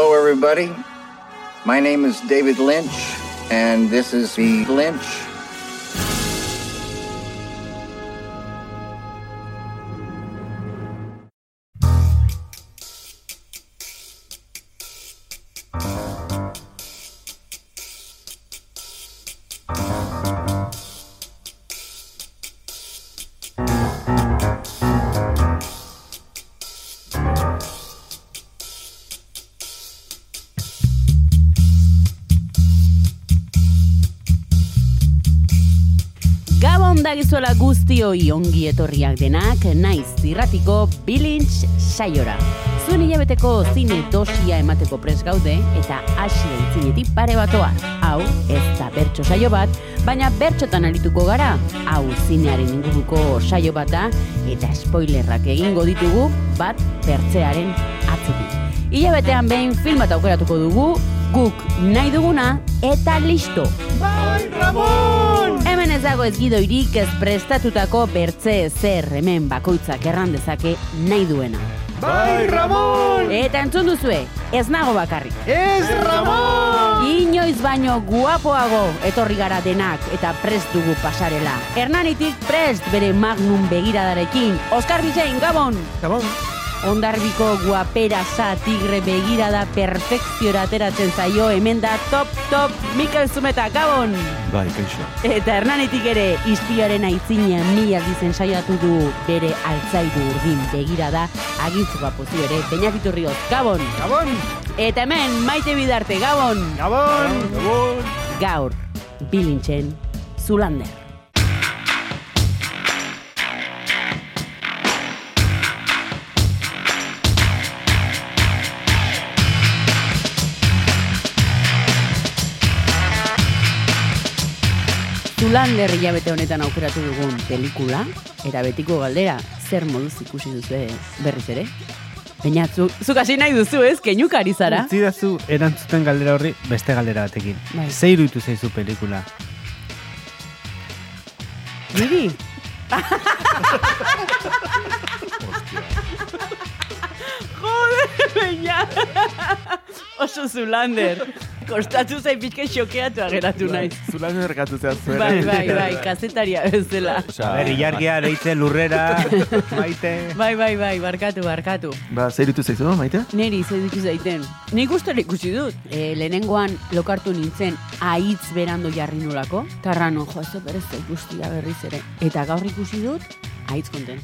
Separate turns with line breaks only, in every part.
everybody. My name is David Lynch, and this is the Lynch
Gabon da gizuela guztioi ongi etorriak denak, naiz irratiko bilintz saiora. Zuen hilabeteko zine dosia emateko pres gaude eta hasi aitzinetik pare batoa. Hau, ez da bertso saio bat, baina bertxotan arituko gara. Hau, zinearen inguruko saio bat da eta spoilerrak egingo ditugu bat bertzearen atzetik. Hilabetean behin filmat aukeratuko dugu, guk nahi duguna eta listo. Hemen ez dago ez gidoirik ez prestatutako bertze zer hemen bakoitzak erran dezake nahi duena.
Bai, Ramon!
Eta entzun duzue, ez nago bakarrik.
Ez Ramon!
Inoiz baino guapoago etorri gara denak eta prest dugu pasarela. Hernanitik prest bere magnum begiradarekin. Oskar Bizein, Gabon!
Gabon!
Ondarbiko guapera za tigre begirada perfekziora ateratzen zaio hemen da top top Mikel Zumeta, Gabon!
Bai, kaixo.
Eta hernanetik ere, izpiaren aitzina mila dizen saiatu du bere altzairu urdin begira da agintzuka pozio ere, peinakiturrioz, gabon!
Gabon!
Eta hemen, maite bidarte, gabon!
Gabon!
Bai,
Gabon!
Gaur, bilintzen, zulander. Zulander hilabete honetan aukeratu dugun pelikula, eta betiko galdera, zer moduz ikusi duzue berriz ere? Baina, zu, zuk hasi nahi duzu ez, keinuka ari zara?
Utzidazu erantzuten galdera horri beste galdera batekin.
Bai.
Ze iruditu zaizu pelikula?
Niri? Joder, baina! Oso zulander. Kostatu zai pixka xokeatu ageratu
Bai.
naiz.
Zulan erkatu zea zuen.
Bai, bai, bai, kazetaria bezala.
A ber, ilargia, leitze, lurrera, maite...
Bai, bai, bai, barkatu, barkatu.
Ba, zer irutu zaizu, maite?
Neri, ze ditu zaiten. Nik uste dut ikusi dut. E, lehenengoan lokartu nintzen aitz berando jarri nulako. Tarrano, jo, ez dut berez da ikustia berriz ere. Eta gaur ikusi dut, aitz konten.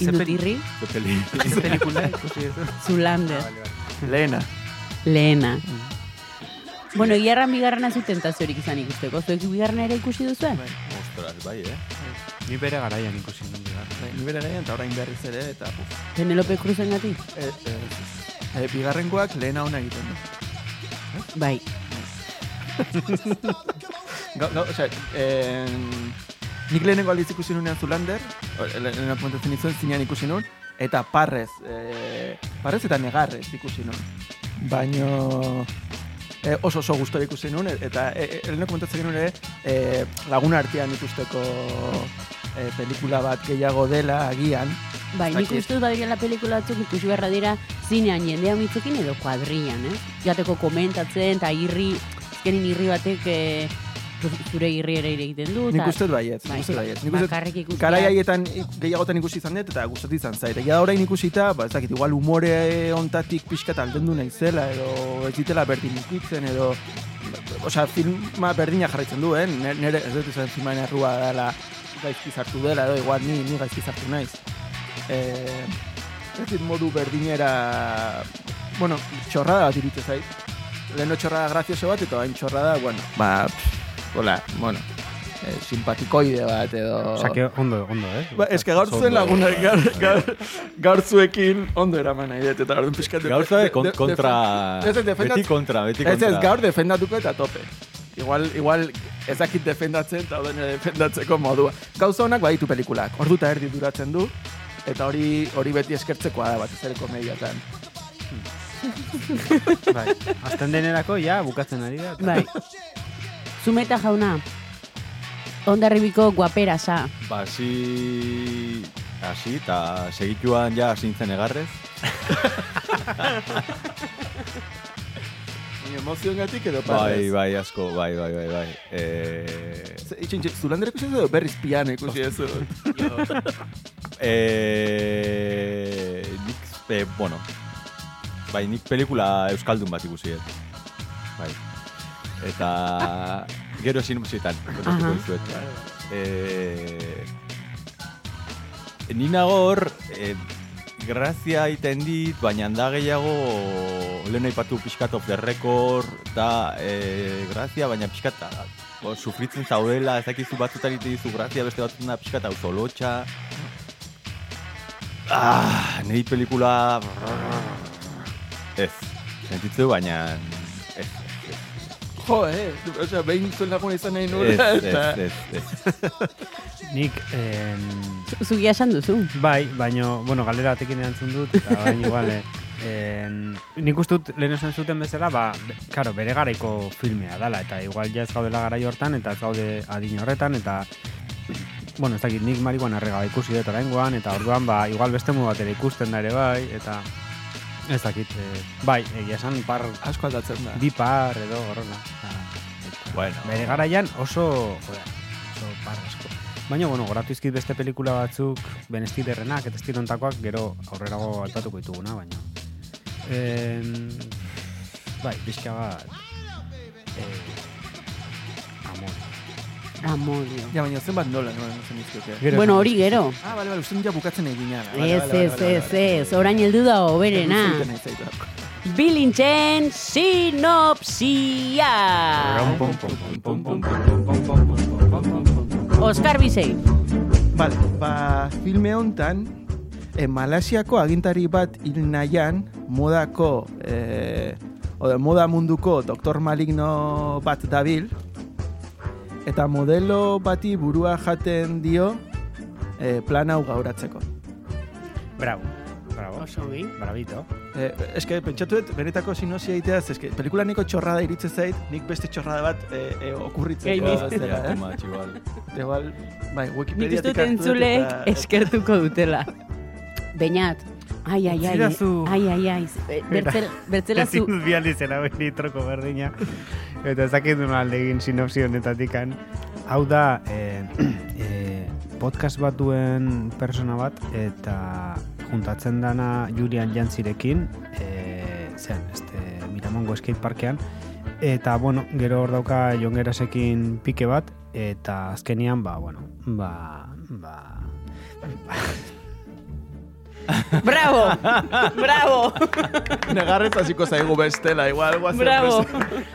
Ze peli-
Indutirri,
Ze pelikula ikusi duzu?
zulander.
Lehena.
Lehena. Bueno, iarran bigarrena zu tentaziorik izan ikusteko. Zuek bigarrena ere ikusi duzu?
Bai.
Ni bere garaian ikusi nuen bigarren.
Ni bere nahian, eta orain berriz ere, eta puf.
Penelope Cruzen gati?
E, e, e, bigarrengoak lehena ona egiten du.
Bai.
Gau, gau, osea, em, nik lehenengo aldiz ikusi nunean Zulander, o, le- lehenak komentatzen nizuen, zinean ikusi nun, eta parrez, e, parrez eta negarrez ikusi nun. Baino e, oso oso gustora ikusi nun, e- eta e, e, lehenak komentatzen genuen ere e, laguna artean ikusteko e, pelikula bat gehiago dela agian.
Bai, nik
Dakit.
uste dut badirela pelikula batzuk ikusi beharra dira zinean jendea mitzekin edo kuadrian, eh? Jateko komentatzen eta irri, genin irri batek eh, zure irri ere egiten du.
Nik
eta-
uste dut baiet,
Bai,
nik uste dut baiet. Nik uste dut
bakarrik ikustea.
Garai haietan ik- gehiagotan ikusi izan dut eta gustatu izan zait. Egia da orain ikusita, ba ez dakit, igual umore hontatik pixka aldendu naizela edo ez ditela berdin ikutzen edo Osa, filma berdina jarraitzen du, eh? Nere, nere ez dut izan filmaren errua dela gaizki sartu dela, edo igual ni, ni gaizki sartu naiz. Eh, ez dit modu berdinera, bueno, txorrada bat iruditzen zait. Leheno txorrada grazioso bat, eta hain txorrada, bueno, ba, pff, hola, bueno, eh, simpatikoide bat, edo...
Osa, que ondo, ondo, eh?
Ba, eske gaur zuen laguna, gaur, gaur, gaur zuekin ondo eraman nahi dut, eta orduan pixkat...
Gaur zuen kon- kontra,
Ez, ez, defendat-
beti kontra, beti
Ez ez,
kontra.
gaur defendatuko eta tope. Igual, igual ez dakit defendatzen eta orduan ere defendatzeko modua. Gauza honak baditu pelikulak, ordu eta erdi duratzen du, eta hori hori beti eskertzekoa da bat, ez ere komediatan.
Bai. Azten denerako, ja, bukatzen ari da.
Bai. Zumeta jauna, ondarribiko guapera sa.
Ba, hasi... Hasi, eta segituan ja hasi nintzen egarrez.
Emozioen gatik edo
Bai,
pasaz.
bai, asko, bai, bai, bai, bai. Eh,
Itxin, zulandera ikusi ez edo berriz piano ikusi ez edo.
eh, nik, eh, bueno, bai, nik pelikula euskaldun bat ikusi dut. Bai. Eta gero ezin musietan, kontatuko
Aha.
dizuet. Eh, ni nago hor, eh, grazia egiten dit, baina da gehiago lehen aipatu pixkat of the record, eta eh, grazia, baina pixkat ah, o, sufritzen zaudela, ez dakizu batzutan ite dizu grazia, beste batzutan da pixkat autolotxa. Ah, niri pelikula... Ez, sentitzu, baina... Ez, ez,
Jo, eh, osea, behin zuen laguna izan nahi
ez,
nuela,
ez,
eta...
ez, ez, ez.
Nik, em,
Zugia esan duzu.
bai, baino, bueno, galera batekin erantzun dut, eta bain igual, eh, em, nik uste dut lehen esan zuten bezala, ba, be- karo, bere garaiko filmea dala, eta igual ja ez gaudela garai hortan, eta ez gaude adin horretan, eta bueno, ez dakit, nik mariguan arrega ikusi dut oraingoan, eta orduan, ba, igual beste modu batera ikusten da ere bai, eta ez dakit, eh, bai, egia esan par
Asko aldatzen da.
bi par edo horrela. Eta-
Bueno.
Bere garaian oso, joder, oso par asko. Baina, bueno, goratu izkit beste pelikula batzuk, ben estilerrenak eta estilontakoak, gero aurrerago aipatuko dituguna, baina. Em, bai, pixka bat. Eh, amor.
Amodio.
Ja, baina zenbat nola nola zen izkioke.
Gero
Bueno,
esan-
hori gero.
Ah, bale, bale, usten ja bukatzen egin ala. Bale,
Ez,
bale, bale,
ez,
bale,
ez,
bale.
ez. Orain heldu da hoberena.
Iruditzen nahi zait.
Bilintzen sinopsia. Oskar Bizei.
Bale, ba, filme hontan, eh, Malasiako agintari bat hil nahian, modako, eh, oda, moda munduko doktor maligno bat dabil, eta modelo bati burua jaten dio eh, plan hau gauratzeko.
Bravo. Bravo.
Oso ongi.
Bravito.
Eh, eske, pentsatu dut, benetako sinosia egiteaz, eske, pelikula niko txorrada iritze zait, nik beste txorrada bat eh, eh, okurritzen.
Gehi
dudaz
Ja,
dela, eh?
tema, txibal.
Igual, bai,
Nik
Wikipedia
uste dut entzuleek eskertuko dutela. Beñat, ai, ai, ai,
Zirazu.
ai, ai, ai, eh, bertzela, bertzela zu,
Ezin bializela beti troko berdina. Eta ez dakit duen alde egin sinopsi honetatik kan. Hau da, eh, eh, podcast bat duen persona bat, eta juntatzen dana Julian Jantzirekin, eh, zean, este, Miramongo Skate Parkean, eta, bueno, gero hor dauka Jon Gerasekin pike bat, eta azkenian, ba, bueno, ba, ba,
bravo, bravo,
Negarrez hasiko zaigu bestela, igual, guazen.
bravo.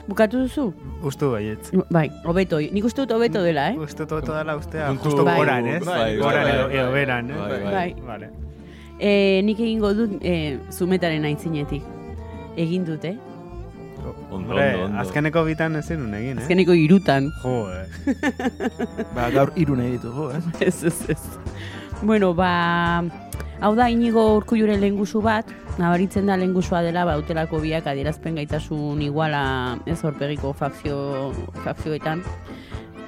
Bukatu duzu?
ustu baietz.
Bai, hobeto, nik uste dut hobeto dela, eh?
Ustu toto dela ustea,
Puntu-
justu
Bai.
goran, ez?
Bai, bai,
Goran
bai,
edo,
bai.
edo beran, eh?
Bai,
Bai.
Vale.
Eh, nik egingo dut eh, zumetaren aitzinetik. Egin dut, eh?
Ondo,
Hombre,
ondo, ondo.
azkeneko bitan ez zenun egin, eh?
Azkeneko irutan.
Jo, eh.
Ba, gaur hiru nahi ditugu, eh?
ez, ez, ez. Bueno, ba... Hau da, inigo urkulluren lengusu bat, nabaritzen da lengusua dela, ba, utelako biak adierazpen gaitasun iguala ez horpegiko fakzio, fakzioetan.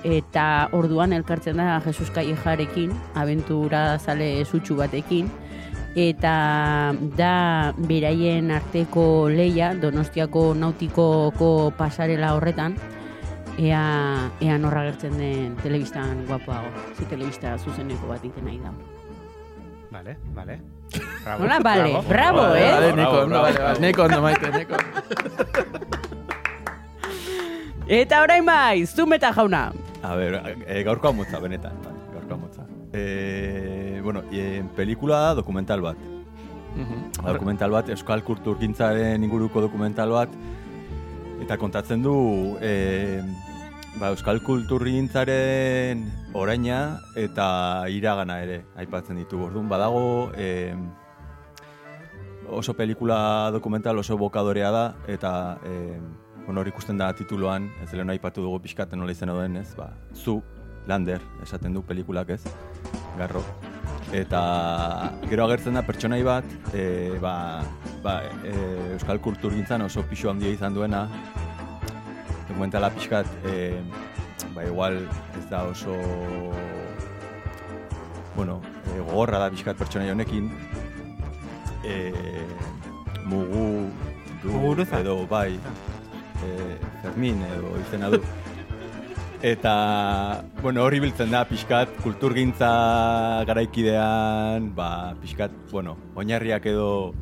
Eta orduan elkartzen da Jesus Callejarekin, abentura zale sutsu batekin. Eta da beraien arteko leia, donostiako nautikoko pasarela horretan, Ea, ea norra gertzen den telebistan guapoago. Ze telebista zuzeneko bat egiten nahi da.
Vale, vale. Bravo.
Nola, bale, bravo, eh?
Vale, neko
Bravo,
ondo,
bravo,
vale, vale,
bravo.
neko ondo, maite, neko.
Eta orain bai, zumeta jauna.
A ber, e, gaurkoa motza, benetan. bai, Gaurkoa motza. E, bueno, e, pelikula da dokumental bat. Dokumental bat, Euskal Kulturgintzaren inguruko dokumental bat. Eta kontatzen du e, ba, Euskal Kulturgintzaren oraina eta iragana ere aipatzen ditu. Orduan badago e, oso pelikula dokumental oso bokadorea da eta e, bueno, hor ikusten da tituloan, ez lehen aipatu dugu pixkaten nola izan den, ez? Ba, zu, Lander, esaten du pelikulak ez, garro. Eta gero agertzen da pertsonai bat, e, ba, ba, e, Euskal Kulturgintzan oso pisu handia izan duena, dokumentala pixkat, e, ba, igual ez da oso, bueno, e, gogorra da pixkat pertsonai honekin, e, mugu, du,
Muguruza.
edo, bai, e, Fermin edo izena du. Eta, bueno, horri biltzen da, pixkat, kulturgintza garaikidean, ba, pixkat, bueno, oinarriak edo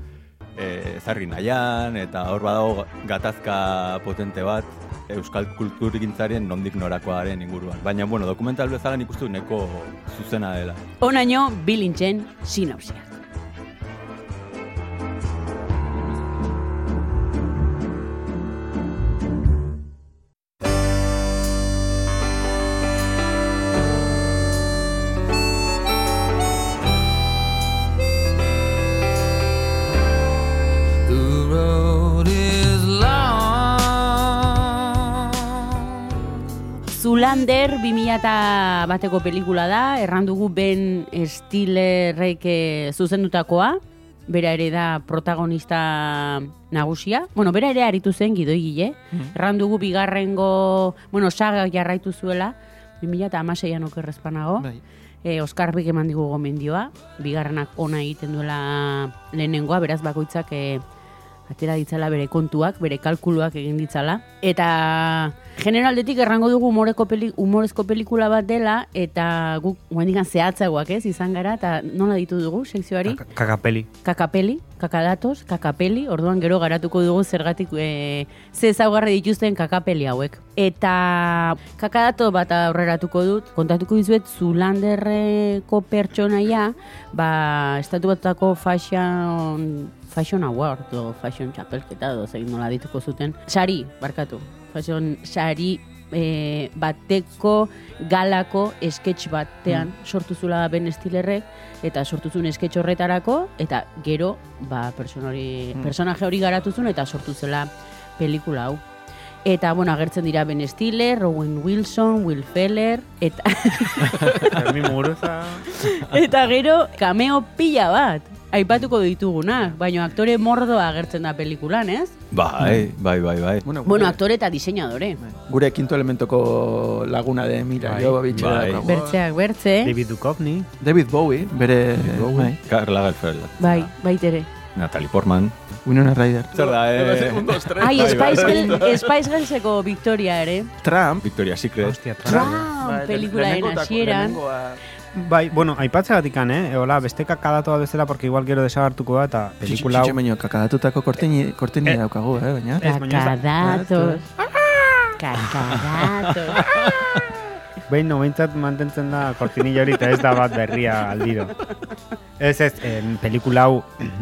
e, zarri nahian, eta hor badago gatazka potente bat, euskal kulturgintzaren nondik norakoaren inguruan. Baina, bueno, dokumental bezala nik uste dut nahiko zuzena dela.
Onaino bilintzen sinopsiak.
The road is long.
Zulander 2000 bateko pelikula da, erran dugu Ben Stillerrek eh, zuzendutakoa, bera ere da protagonista nagusia. Bueno, bera ere aritu zen gidoigile. Erran dugu bigarrengo, bueno, saga jarraitu zuela, 2016an okerrezpanago.
Bai.
E, Oskar Bik eman digu gomendioa, bigarrenak ona egiten duela lehenengoa, beraz bakoitzak e, atera ditzala bere kontuak, bere kalkuluak egin ditzala. Eta generaldetik errango dugu humoreko peli, humorezko pelikula bat dela, eta guk guendikan zehatzagoak ez, izan gara, eta nola ditu dugu sekzioari?
Kaka- Kakapeli.
kakapeli, kakadatos, kakapeli, orduan gero garatuko dugu zergatik e, ze zaugarri dituzten kakapeli hauek. Eta kakadato bat aurreratuko dut, kontatuko dizuet Zulanderreko pertsonaia, ba, estatu batutako fashion, fashion award, o fashion txapelketa, edo zein nola dituko zuten. Sari, barkatu, fashion sari e, bateko galako sketch batean sortu zula Ben Stillerrek eta sortu zuen sketch horretarako eta gero ba personori,
Mm.
personaje hori garatu zuen eta sortu zela pelikula hau. Eta, bueno, agertzen dira Ben Stiller, Rowan Wilson, Will Feller, eta,
Fermin Muguruza.
eta gero cameo pila bat, aipatuko ditugunak, baina aktore mordoa agertzen da pelikulan, ez?
Bai, bai, bai, bai.
Bueno, aktore eta diseinadore.
Gure quinto elementoko laguna de Mira,
Bai.
jo bitxera
Bai.
daukagu.
Bertzeak bertze,
David Duchovny.
David Bowie, bere... Bai.
Karla Gelfeld.
bai, baitere.
Natalie Portman.
Winona Ryder.
Zer da, eh?
Ai,
Bai, bai.
Spice, Girl, Spice Girlseko Victoria ere.
Trump.
Victoria Secret.
Hostia, tra.
Wow,
Bai,
pelikularen
lehenengo eta-
Ah, hasieran.
lehenengoa-
Bai, bueno, aipatzagatik an, eh? Hola, beste kakadato bat bezala, porque igual gero desagartuko da, eta pelikula hau...
Txitxe baino, kakadatutako korteni, korteni daukagu, eh, baina.
Ez, baina ez da-
Ah,
Kakadatos. Kakadatos.
Ah.
Behin no, behintzat mantentzen da kortinilla hori eta ez da bat berria aldiro. Ez ez, em, pelikula hau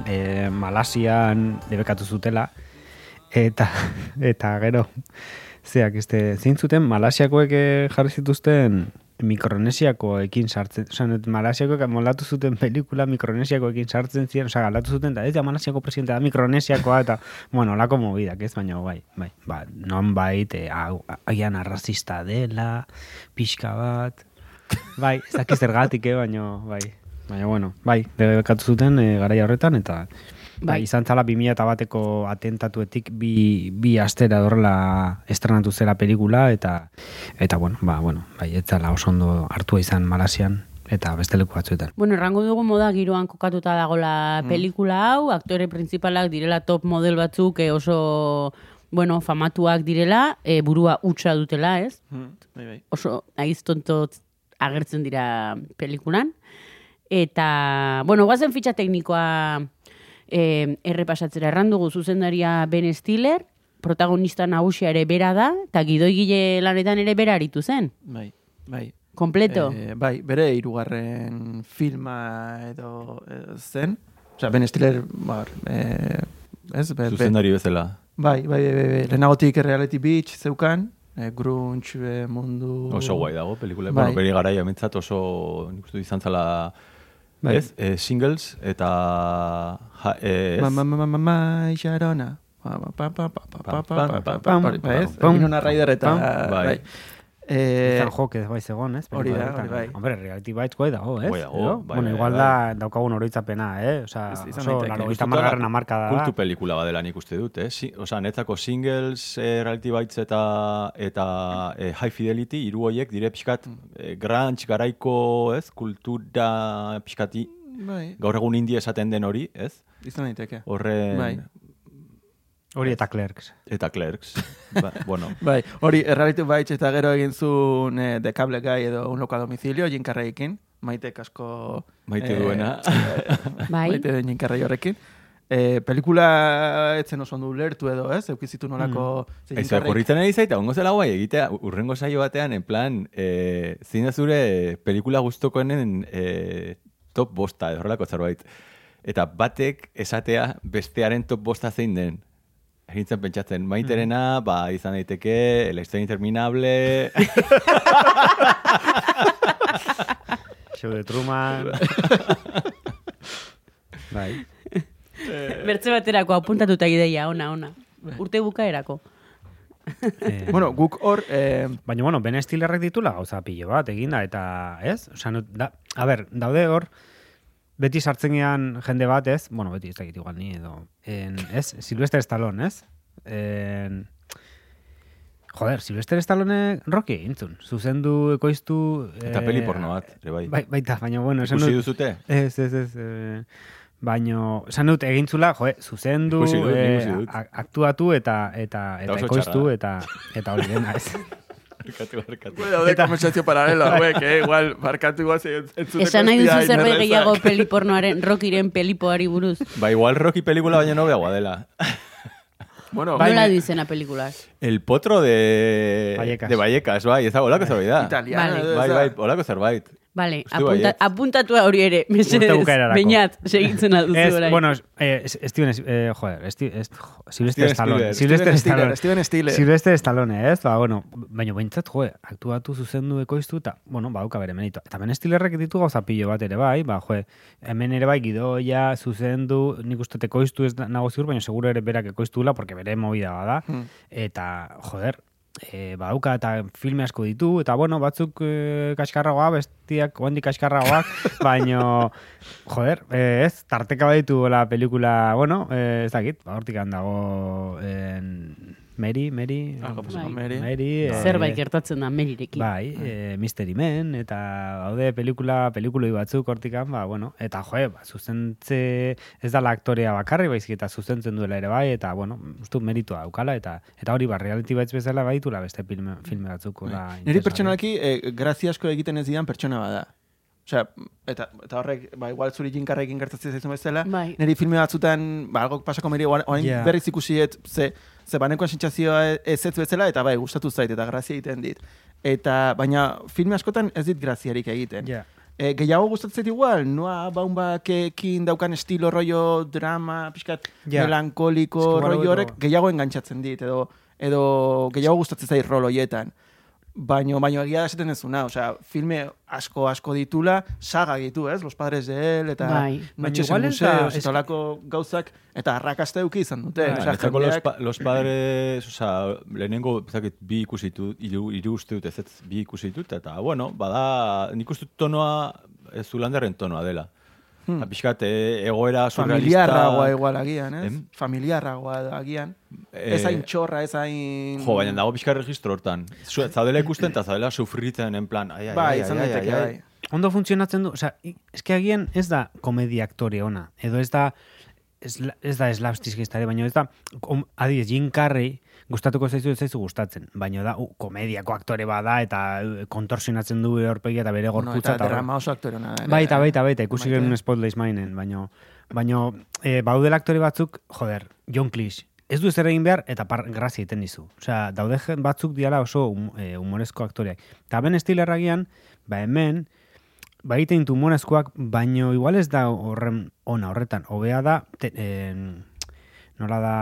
eh, Malasian debekatu zutela eta eta gero zeak este zein zuten Malasiakoek eh, jarri zituzten Mikronesiakoekin sartzen, osea, net- Malasiakoek moldatu zuten pelikula Mikronesiakoekin sartzen ziren, osea, galatu zuten da ez da Malasiako presidente da Mikronesiakoa eta bueno, lako movidak, ez baina bai, bai. Ba, nonbait eh, hau- agian arrazista dela, pixka bat. Bai, ez dakiz zergatik, eh, baina bai. Baina, bueno, bai, debekatu zuten eh, garaia horretan, eta
Bai.
bai, izan zala 2000 bateko atentatuetik bi, bi astera dorla estrenatu zela pelikula, eta, eta bueno, ba, bueno, bai, ez zala oso ondo hartua izan Malasian, eta beste leku batzuetan.
Bueno, errango dugu moda giroan kokatuta dagola
Mm.
pelikula hau, aktore printzipalak direla top model batzuk eh, oso, bueno, famatuak direla, eh, burua utxa dutela, ez?
Mm, Bai, bai.
oso aiztonto agertzen dira pelikulan. Eta, bueno, guazen fitxa teknikoa eh, errepasatzera errandugu zuzendaria Ben Stiller, protagonista nagusia ere bera da, eta gidoigile lanetan ere bera aritu zen,
Bai, bai.
kompleto.
Eh, bai, bere hirugarren filma edo eh, zen. Osea, Ben Stiller, bar, eh, ez? Be, be-
Zuzendari bezala.
bai, bai, bai, bai, bai. Lehenagotik Reality Beach zeukan, eh, grunge eh, mundu...
Oso guai dago pelikula.
Bai.
Bueno, bere garaia mentzat oso, nik uste dut izan zala,
Bai.
ez? Eh, singles eta... Ja, eh, ez?
Ma, ma, ma, ma, ma, ma, Sharona. Pa, pa, pa, pa, pa, pa, pa, pa, pa, pa,
Pam,
pa, pa, ez?
pam,
Winona Ryder eta...
pam.
Bai.
Bai. Eh,
Izan joke bai zegoen, ez?
hori da,
Pelikula
hori
horretan.
bai.
Hombre, reality bites guai dago, ez?
Guai dago,
Edo?
bai,
bueno,
bai,
igual
bai.
da daukagun oroitzapena, eh? Osa,
Ez- izan
oso,
daiteke.
laro,
Nik uste
gita
dut
margarren
da,
hamarkada da.
Kultu pelikula badela nik uste dut, eh? Si, Osa, netzako singles, eh, reality bites eta, eta eh, high fidelity, hiru horiek dire pixkat,
Mm.
eh, grunge garaiko, ez? Kultura pixkati,
bai,
gaur egun indie esaten den hori, ez?
izan daiteke.
Horren,
Bai.
Hori eta Clerks.
Eta Clerks. ba, bueno,
Bai, hori, erralitu baitz eta gero egin zuen eh, The Cable Guy edo un loka domicilio, jinkarreekin, maite kasko...
Maite duena.
Bai.
eh, Maite den jinkarrei horrekin. Eh, pelikula etzen oso ondo ulertu edo, ez? Eukizitu nolako... ze
Ez,
Jim Carrey-
okurritzen ari zaita, ongo zela guai egitea, urrengo saio batean, en plan, e, zein da zure pelikula gustokoenen e, top bosta, edo horrelako zerbait. Eta batek esatea bestearen top bosta zein den. Egintzen pentsatzen, maiterena,
Mm.
ba, izan daiteke, la historia interminable,
Show de Truman. bai.
Bertze baterako apuntatuta ideia, ona, ona. Urte bukaerako.
Eh,
Bueno, guk hor... Eh,
Baina, bueno, Ben Stillerrek ditula gauza pilo bat eginda, eta, ez? Osa, no, da, a ber, daude hor, beti sartzen gean jende bat, ez? Bueno, beti ez dakit igual ni edo, en, ez? Sylvester Stallone, ez? En, joder, Sylvester Stallone Rocky intzun, zuzendu, ekoiztu...
eta
eh,
peli porno bat, ere bai.
Bai, baita, baina, bueno, esan
Ikusi
dut...
duzute?
Ez, ez, ez. E, baino, esan dut egintzula, jo, zuzendu,
Ikusi dut,
eh,
ikusi dut.
a- aktuatu eta eta eta,
oso
ekoiztu
txarra.
eta eta hori dena, ez.
Barkatu, barkatu.
Bueno, de konversazio paralela, hauek, eh? Igual, barkatu guaz entzuteko...
Esan nahi duzu
ez dira
zerbait
hain
gehiago
errazak.
pelipornoaren, rokiren pelipoari buruz.
Ba, igual Rocky pelikula baino nobeagoa dela.
Bueno,
Nola du izena pelikular?
El potro de...
Vallecas.
De Vallecas, bai, ez da, holako zerbait da.
Vale.
italiana... edo ez
Bai,
da.
bai, holako zerbait.
Vale,
Uste
apunta,
baietz.
apuntatua hori ere, mesedez,
Urte bukaerarako.
beinat, segitzen alduzu
Ez,
orain.
bueno, es- eh, es- Steven, es- eh, joder, Esti- es- jo, Sylvester
Steven
Stallone.
Spielberg.
Sylvester
Steven
Stallone.
Stiller, Steven Stiller.
Sylvester Stallone, ez? Ba, bueno, baina behintzat, jo, aktuatu zuzendu ekoiztu, eta, bueno, bauka bere menito. Eta ben Stillerrek ditu gauza pilo bat ere bai, ba, jo, hemen ere bai gidoia, zuzendu, nik uste dut ekoiztu ez da- nago ziur, baina seguro ere berak ekoiztula, porque bere movida bada,
Hmm.
eta, joder, e, bauka eta filme asko ditu, eta bueno, batzuk e, kaskarragoa, bestiak oendik kaskarragoak, baino, joder, e, ez, tarteka baditu la pelikula, bueno, e, ez dakit, ba, hortik handago, en, Mary, Mary,
Ah, gauz,
Bai.
Mary.
Mary, eh,
Zerbait gertatzen da melirekin.
Bai, eh, Mystery Men, eta daude pelikula, pelikuloi batzuk hortikan, ba, bueno, eta joe, ba, zuzentze, ez da aktorea bakarri, baizik eta zuzentzen duela ere bai, eta, bueno, ustu meritua daukala, eta eta hori, ba, reality baitz bezala baitula beste filme, filme batzuk. hola,
Bai, Niri
Bai, interesgarri.
pertsonalki, eh, grazia asko egiten ez didan pertsona bada. Osea, eta, eta horrek, ba, igual zuri jinkarrekin gertatzen zaizun bezala,
Bai.
niri filme batzutan, ba, algo pasako meri, orain
Ja.
berriz ikusiet, ze, ze banekoan sentsazioa e, ez ez bezala, eta bai, gustatu zait, eta grazia egiten dit. Eta, baina, filme askotan ez dit graziarik egiten.
Ja.
E, gehiago gustatzen zait igual, noa baunbakekin daukan estilo rollo drama, pixkat
Ja.
melankoliko,
Ez que igual
rollo horrek
hori-
gehiago engantzatzen dit, edo, edo gehiago gustatzen zait rol hoietan. Baino, baino egia da esaten dezuna, osea, filme asko asko ditula, saga ditu, ez? Los padres de él, eta
Bai.
Baina
Noches en
igual ez da-
museos,
ez-
eta holako gauzak, eta arrakasta eduki izan dute.
Bai,
osea,
niretzako los,
jendeak-
pa- los padres, oza, lehenengo, zakit, bi ikusi ditut, hiru, hiru uste dut, ez ez, bi ikusi ditut, eta, bueno, bada, nik uste dut tonoa, ez Zulanderren tonoa dela. Hmm. Apixkat, e, egoera surrealista...
Familiarragoa igual agian, ez?
Em?
Familiarragoa agian.
Eh,
ez hain txorra, ez hain...
Jo, baina dago pixka registro hortan. Zu- Zaudela ikusten eta zaudela sufritzen, en plan, ai, ai,
Bai,
ai,
izan
ai, ai,
daiteke,
ai.
bai.
Ondo funtzionatzen du, osea, i- eske agian ez da komedia aktore ona, edo ez da ez, ez da slapstickista ere, baina ez da kom, adiez Jim Carrey gustatuko zaizu ez zaizu gustatzen, baina da u, komediako aktore bada eta e, kontorsionatzen du bere aurpegia eta bere
Bueno,
gorputza
eta
eta horrek.
drama oso aktore ona. da,
Baita,
eh?
baita, baita, ikusi
Baita.
genuen Spotlight mainen, baino, baino e, baudela aktore batzuk, joder, John Cleese, ez du zer egin behar eta par, grazia egiten dizu. Osea, daude gen- batzuk diala oso hum, e, humorezko aktoreak. Eta ben estilerragian, ba hemen, ba egiten ditu humorezkoak, baino igual ez da horren ona horretan. Hobea da, te, em, nola da,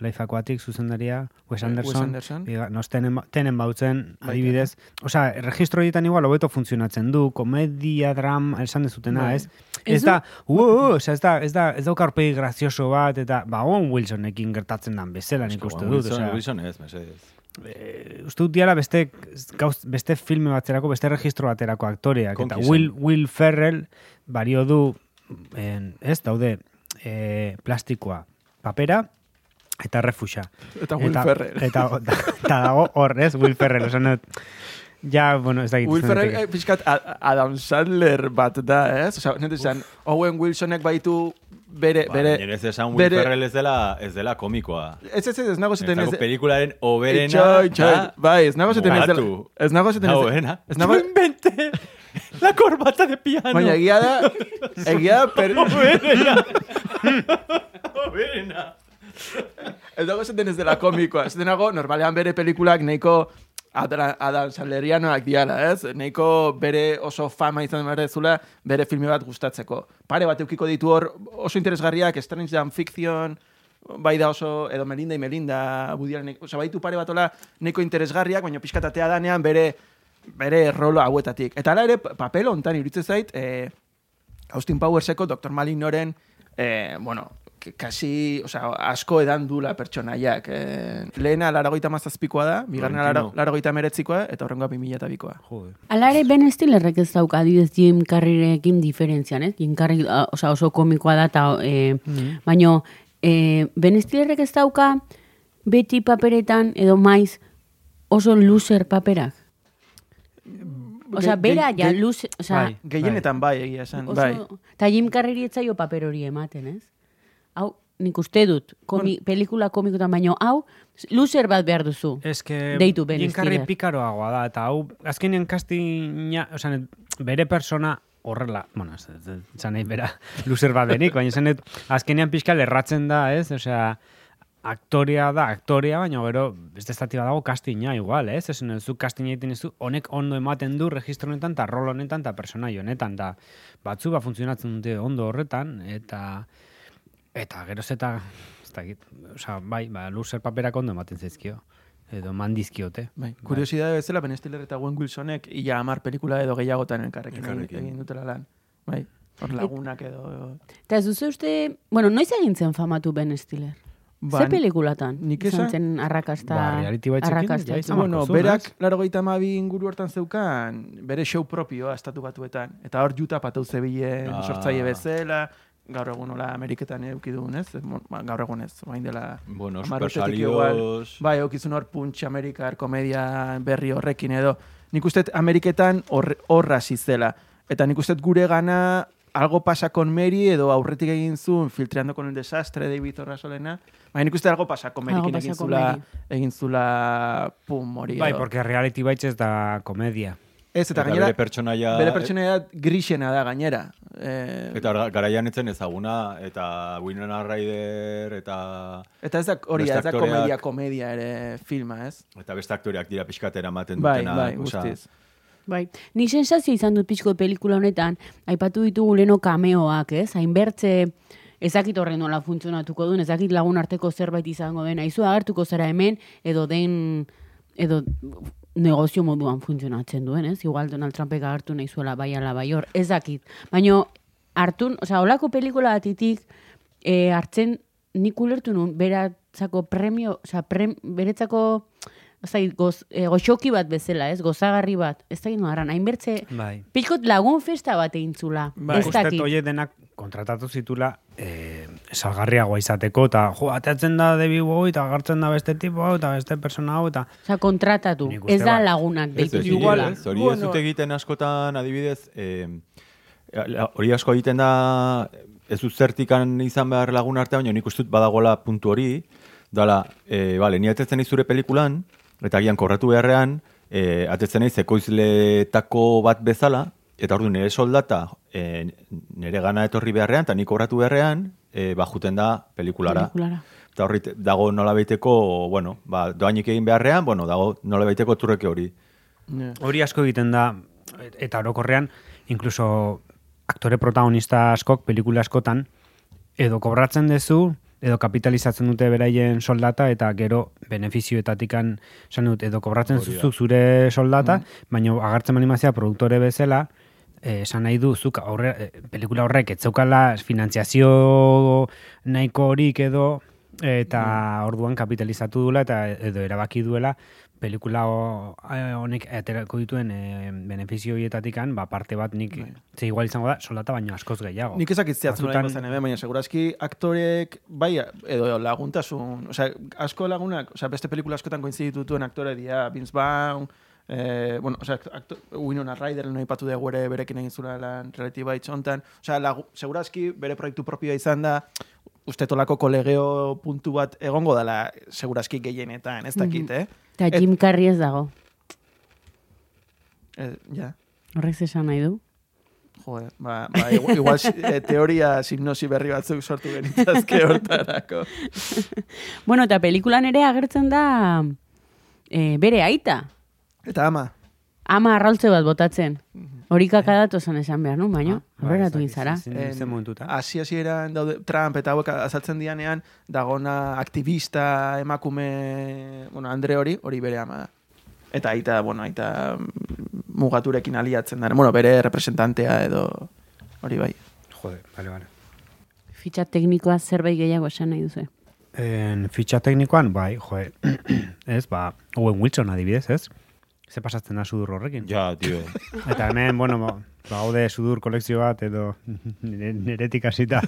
Life Aquatic zuzendaria, Wes
Eh,
Anderson,
Wes Anderson.
Iga- Nos tenen, ba- tenen bautzen, adibidez. Osa, registro horietan igual hobeto funtzionatzen du, komedia, dram, esan dezutena, ez? Ez
Ez
da, uuu, osea, ez da, ez da, ez dauka aurpegi grazioso bat, eta, ba, Owen Wilsonekin gertatzen den bezala nik uste
Owen
dut,
Wilson,
osea.
Wilson ez, mesedez.
Eh, Uste dut diala beste, gauz, beste filme baterako, beste registro baterako aktoreak, eta
Konkizen.
Will, Will Ferrell balio du, en, ez, daude, eh, plastikoa, papera, eta refuxa.
Eta Will Ferrell.
Eta, eta, eta dago hor, ez, Will Ferrell, esan dut. Ja, bueno, ez da
Will Ferrell eh, pixkat A- Adam Sandler bat da, ez? Osa, netu izan, Owen Wilsonek baitu bere,
Ba,
bere,
gainera ez esan Will
bere-
Ferrell ez dela, ez dela komikoa.
Ez ez ez, ez nago
Ez
zeten ez...
pelikularen oberena...
Itxoin, itxoin,
da-
bai, ez nago zeten ez dela...
Mugatu.
Ez nago zeten ez
Hau,
dela...
ena.
Ez nago...
inventé la corbata de piano.
Baina egia da... Egia da... eh, Per...
Oberena. Oberena.
Ez dago esaten ez dela komikoa. Ez denago, normalean bere pelikulak nahiko Adra- Adam Sandlerianoak diala, ez? Nahiko bere oso fama izan behar dezula bere filme bat gustatzeko. Pare bat eukiko ditu hor oso interesgarriak, Strange Dan Fiction, bai da oso, edo Melinda y Melinda, budiaren, oza, baitu pare bat ola nahiko interesgarriak, baina pixkatatea danean bere bere rolo hauetatik. Eta ala ere, papel hontan iruditzen zait, eh, Austin Powerseko Dr. Malignoren, eh, bueno, k- kasi, osea, asko edan dula pertsonaiak. Eh, lehena laragoita mazazpikoa da, bigarrena lara-
Tarantino.
laragoita meretzikoa, eta horrengoa 2002koa.
Joder.
Alare Ben Stillerrek ez dauka adibidez Jim Carreyrekin diferentzian, ez? Jim Carrey a, osea, oso komikoa da ta eh,
Mm-hmm.
baino eh, Ben Stillerrek ez dauka beti paperetan edo maiz oso loser paperak.
Mm,
Osea,
Ge-
bera
ge-
ja,
ge-
luz, osea,
bai.
Gehienetan bai, egia esan.
oso,
Bai.
ta Jim Carreri etzaio paper hori ematen, ez? Hau, nik uste dut, komi, pelikula komikotan baino, hau, loser bat behar duzu.
Ez que
Deitu Ben
Jim Carrey
Stiller.
pikaroagoa da, eta hau, azkenean kastina, osan, bere persona horrela, bueno, ez- ez- ez- esan nahi bera, luzer bat denik, baina esan dut, azkenean pixka lerratzen da, ez, osea, aktorea da, aktorea, baina gero, beste estati bat dago kastina igual, ez, esan dut, zu kastina egiten dizu, honek ondo ematen du registro honetan, eta rol honetan, eta personai honetan, eta batzu ba funtzionatzen dute ondo horretan, eta... Eta geroz eta, ez dakit, oza, bai, ba, luzer paperak ondo ematen zaizkio. Edo mandizkiote.
Bai. Kuriosidade bezala, Ben Stiller eta Gwen Wilsonek ia amar pelikula edo gehiagotan elkarrekin egin-
Elkarrekin.
egin dutela lan. Bai. Hor lagunak edo...
Eta ez duzu uste, bueno, noiz egin zen famatu Ben Stiller?
Ba,
Ze pelikulatan?
nik
izan
esan-
zen arrakasta...
Ba, reality baitzekin, ja izan
itzu.
bako
Bueno,
zu,
berak,
ez?
laro gaita inguru hortan zeukan, bere show propioa estatu batuetan. Eta hor juta patau zebilen
Ah.
sortzaile bezala, gaur egun hola Ameriketan eukidugun, ez? Mo- ba, Gaur egun ez, orain dela...
Bueno,
hamar urtetik
supersalidos.
igual. Bai, eukizun hor punch Amerikar komedia berri horrekin edo. Nik uste dut Ameriketan hor- horra hasi zela. Eta nik uste dut gure gana algo pasa con Mary edo aurretik egin zuen filtreando con el desastre David Horrasolena. Baina nik uste dut algo pasa con Marykin
Algo pasa
egin
con
zula,
Mary.
egin zula pum hori
Bai,
edo.
porque reality baitz ez da komedia.
Ez, eta,
Eta
gainera,
bere pertsonaia...
bere pertsonaia grisena da gainera. Eh, eta,
Eta gara- garaian etzen ezaguna, eta Winona Ryder, eta...
ez da hori, da, ez da
beste aktoreak-
komedia, komedia ere filma, ez?
Eta beste aktoreak dira pixkatera ematen
Bai,
dutena.
bai,
osea,
guztiz.
Bai. Ni sensazio izan dut pixko pelikula honetan, aipatu ditugu leno kameoak, ez? Hainbertze, ezakit horren nola funtzionatuko duen, ezakit lagun arteko zerbait izango den, aizu agertuko zara hemen, edo den, edo negozio moduan funtzionatzen duen, ez? Igual Donald Trumpek agertu nahi zuela bai ala bai hor, ez dakit. Baina, hartun, osea, olako pelikula batitik, e, hartzen, nik ulertu nun, beratzako premio, osea, prem, beretzako, ez dakit, goz, e, goxoki bat bezela, ez, gozagarri bat, ez dakit noaran, hainbertze,
Bai.
pixkot lagun festa bat egin zula,
Bai.
ez
Uste
dakit.
Ba, oie denak kontratatu zitula eh, salgarriagoa izateko, eta jo, ateatzen da debi hau, eta agartzen da beste tipo hau, eta beste persona hau, eta...
Osea, kontratatu,
Nik uste
ez da
bai.
lagunak
Ez,
deitu
ez,
zigula.
igual, ez, hori ez
Bueno.
dut egiten askotan adibidez, eh, la- hori asko egiten da, ez dut zertikan izan behar lagun arte, baina nik uste dut badagola puntu hori, dala, eh, bale, ni atetzen naiz zure pelikulan, eta agian korratu beharrean, eh, atetzen naiz ekoizletako bat bezala, eta ordu nire soldata eh, nire gana etorri beharrean, eta nik korratu beharrean, eh, ba, juten da pelikulara.
Pelikulara.
Eta horri te- dago nola baiteko, bueno, ba, doainik egin beharrean, bueno, dago nola baiteko turreke hori.
Ja.
Hori asko egiten da, eta orokorrean, inkluso aktore protagonista askok, pelikula askotan, edo kobratzen duzu, edo kapitalizatzen dute beraien soldata, eta gero benefizioetatikan, esan dut, edo kobratzen duzu zure soldata, baina agartzen animazioa produktore bezala, eh, esan nahi du, zuk aurre, eh, pelikula horrek, etzeukala finantziazio nahiko horik edo, eta orduan kapitalizatu duela eta edo erabaki duela pelikula ho- eh, honek aterako dituen eh, benefizio hietatikan ba, parte bat nik ze igual izango da soldata baino askoz gehiago.
Nik ezakit zehatz nola
Batzutan-
izan hemen, baina segurazki aktorek, bai, edo laguntasun, osea, asko lagunak, osea, beste pelikula askotan koinziditutuen aktore dira, Vince Vaughn, E, bueno, osea, aktu, Winona Ryder lehen aipatu dugu ere berekin egin zuen lan Reality Bites hontan. Osea, lagu, segurazki bere proiektu propioa izan da, uste tolako kolegeo puntu bat egongo dela segurazki gehienetan, ez dakit, eh?
Eta Jim Carrey ez dago.
Eh, ja.
Horrek ze esan nahi du?
Joder, ba, ba, igu- igual si- eh, teoria simnosi berri batzuk sortu genitzazke hortarako.
Bueno, eta pelikulan ere agertzen da eh, bere aita.
Eta ama,
Ama arraltze bat botatzen. Hori kakadatu zen esan behar, nu? Baina,
Mhm. Ah,
aurreratu
ez dakit,
izara.
zein- zein- zein momentutan.
hasi hasieran daude Trump eta hauek azaltzen dianean dagona aktivista emakume, bueno, Andre hori, hori bere ama da. Eta aita, bueno, aita mm, mugaturekin aliatzen da. Bueno, bere representantea edo hori bai.
Jode, bale, bale.
Fitxa teknikoa zerbait gehiago esan nahi duzu.
En, fitxa teknikoan, bai, joe, ez, ba, Owen Wilson adibidez, ez? Ze pasatzen da sudur horrekin.
Ja, tio.
Eta hemen, bueno, ba, baude sudur kolekzio bat edo nire- niretik hasita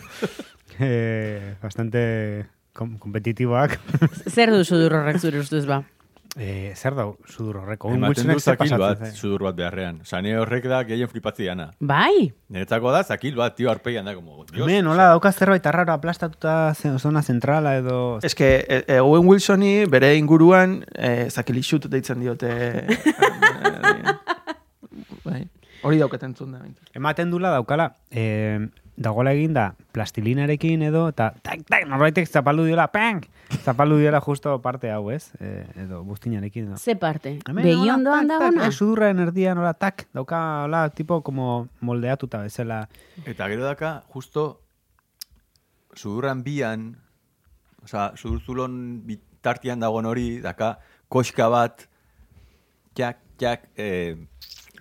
eh, bastante kom kompetitiboak.
Zer duzu dur horrek zure ustuz ba?
Eh, zer dau sudur horreko? Owen
Ematen
Wilsonek
du
zer
zakil bat,
pasatzen zai?
sudur bat beharrean. Osa, nire horrek da gehien flipatzi gana.
Bai,
Niretzako da, zakil bat, tio, arpegian da, como, dios.
Hemen, hola, daukaz zerbait arraro aplastatuta ze- zona zentrala edo...
Ez que e, e, Owen Wilsoni bere inguruan e, zakilixut deitzen diote. eh, bai. Hori daukaten zuen da. behintzat.
Ematen dula daukala, eh, dagola eginda plastilinarekin edo, eta tak, tak, norbaitek zapaldu diola, pang! Zapaldu diola justo parte hau, ez? Eh, edo buztinarekin edo.
ze parte.
Hemen,
Begi
hola,
ondoan
tak,
da
tak,
ona.
eh, Sudurraren erdian, hola, tak, dauka, hola, tipo, como moldeatuta bezala.
Eta gero daka, justo, sudurran bian, osa, sudurzulon bitartian dagoen hori, daka, koxka bat, txak, txak, eh,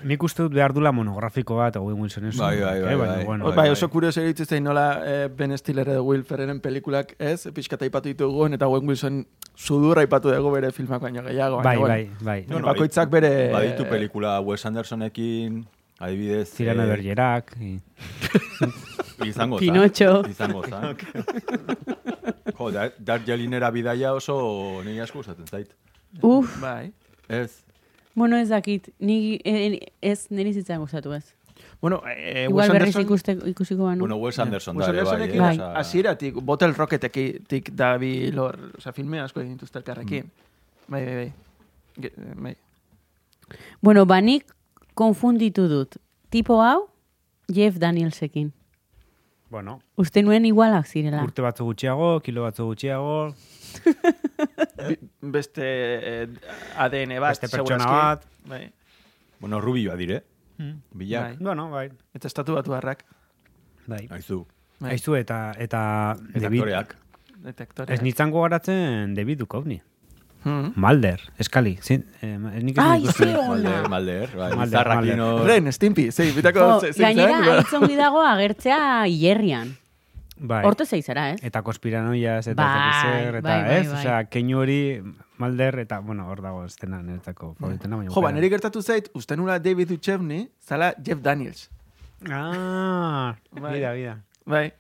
Nik uste dut behar dula monografiko bat, Owen Wilsonen.
Bai, bai,
eh,
bai,
baina,
bai.
bueno,
Bai, oso kurioso eritzu zein nola e, Ben Stiller edo Will Ferreren pelikulak ez, pixkata aipatu ditugun eta Owen Wilson sudurra aipatu dugu bere filmak baino gehiago.
Bai,
baina,
bai, bai.
No, no,
bakoitzak
badi-
bere-
Baditu pelikula Wes Andersonekin, adibidez...
Zirano
eh,
bergerak. i-
Izango za.
Pinocho.
Izango za. Jo, Dar- Darjeelinera bidaia oso nire asko gustatzen zait.
Uf,
Bai.
Ez.
bueno ez dakit, ni eh, ez niri zitzan gustatu
Eh,
ez.
Bueno, e, Wes
Igual berriz
Anderson-
ikuste, ikusiko banu.
Bueno, Wes Anderson da,
Wes
ere, bai.
Andersonekin
eh,
Bai.
osea-
hasieratik Bottle Rocketetik dabil hor, osea, filme asko egin dituzte elkarrekin.
Mm.
Bai, bai, bai. Ge- bai.
Bueno, banik konfunditu dut. Tipo hau, Jeff Danielsekin.
Bueno,
Uste nuen igualak zirela.
urte batzu gutxiago, kilo batzu gutxiago,
beste eh, ADN bat,
Beste pertsona
segurazki.
bat.
Bai.
Bueno, rubioa dire. Mm. Bilak.
Bai.
bueno, bai,
Eta estatu batu harrak.
bai.
Aizu.
Bai.
Aizu eta, eta,
Eta
David-
aktoreak.
Detektorea.
Ez nintzen gogaratzen David Duchovny.
Mhm.
Malder, eskali. Zin, eh, nik ez
Ai,
dut
ze
ikusten.
Malder,
ona!
Malder, bai.
Malder,
Izarrakin
Malder.
hor-
Ren, Stimpy, zei, bitako
Jo,
ze- zein
Gainera,
zen, ba.
aitzongi dago agertzea hierrian.
Bai.
Horto zeizara, ez?
Eta konspiranoiaz, eta
Bai,
bai, zer, eta
bai, bai,
ez?
bai.
Osea, keinu hori, malder, eta, bueno, hor dago, eh, estena niretzako favoritena, baina...
Jo, ba,
bukaeran.
niri gertatu zait, uste nula David Duchovny, zala Jeff Daniels.
Ah,
Bai.
bida, bida.
Bai.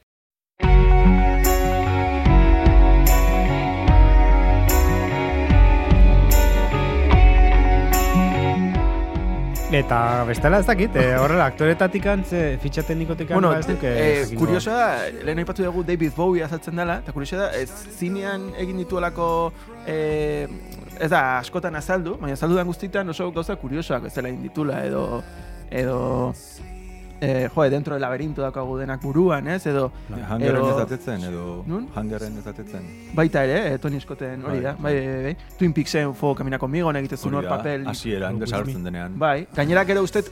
Eta bestela ez dakit, eh, horrela, aktoretatik antze, fitxa teknikotik
Bueno,
ez duk,
eh, kuriosa da, lehen aipatu dugu David Bowie azaltzen dela, eta kuriosa da, ez zinean egin dituelako, eh, ez da, askotan azaldu, baina azaldu den guztietan oso gauza kuriosoak ez dela egin ditula, edo, edo, eh, jo, dentro del laberinto daukagu denak buruan, ez, edo,
Hangerren
Edo-
ez atetzen, edo...
Nun?
Hangerren ez atetzen.
baita ere, eh, Tony Scotten hori da, bai, bai, bai, Twin Peaksen fo, Camina Conmigo, negitezun hor
Hori da,
papel
Hasieran, desagertzen denean.
Bai, gainera gero uste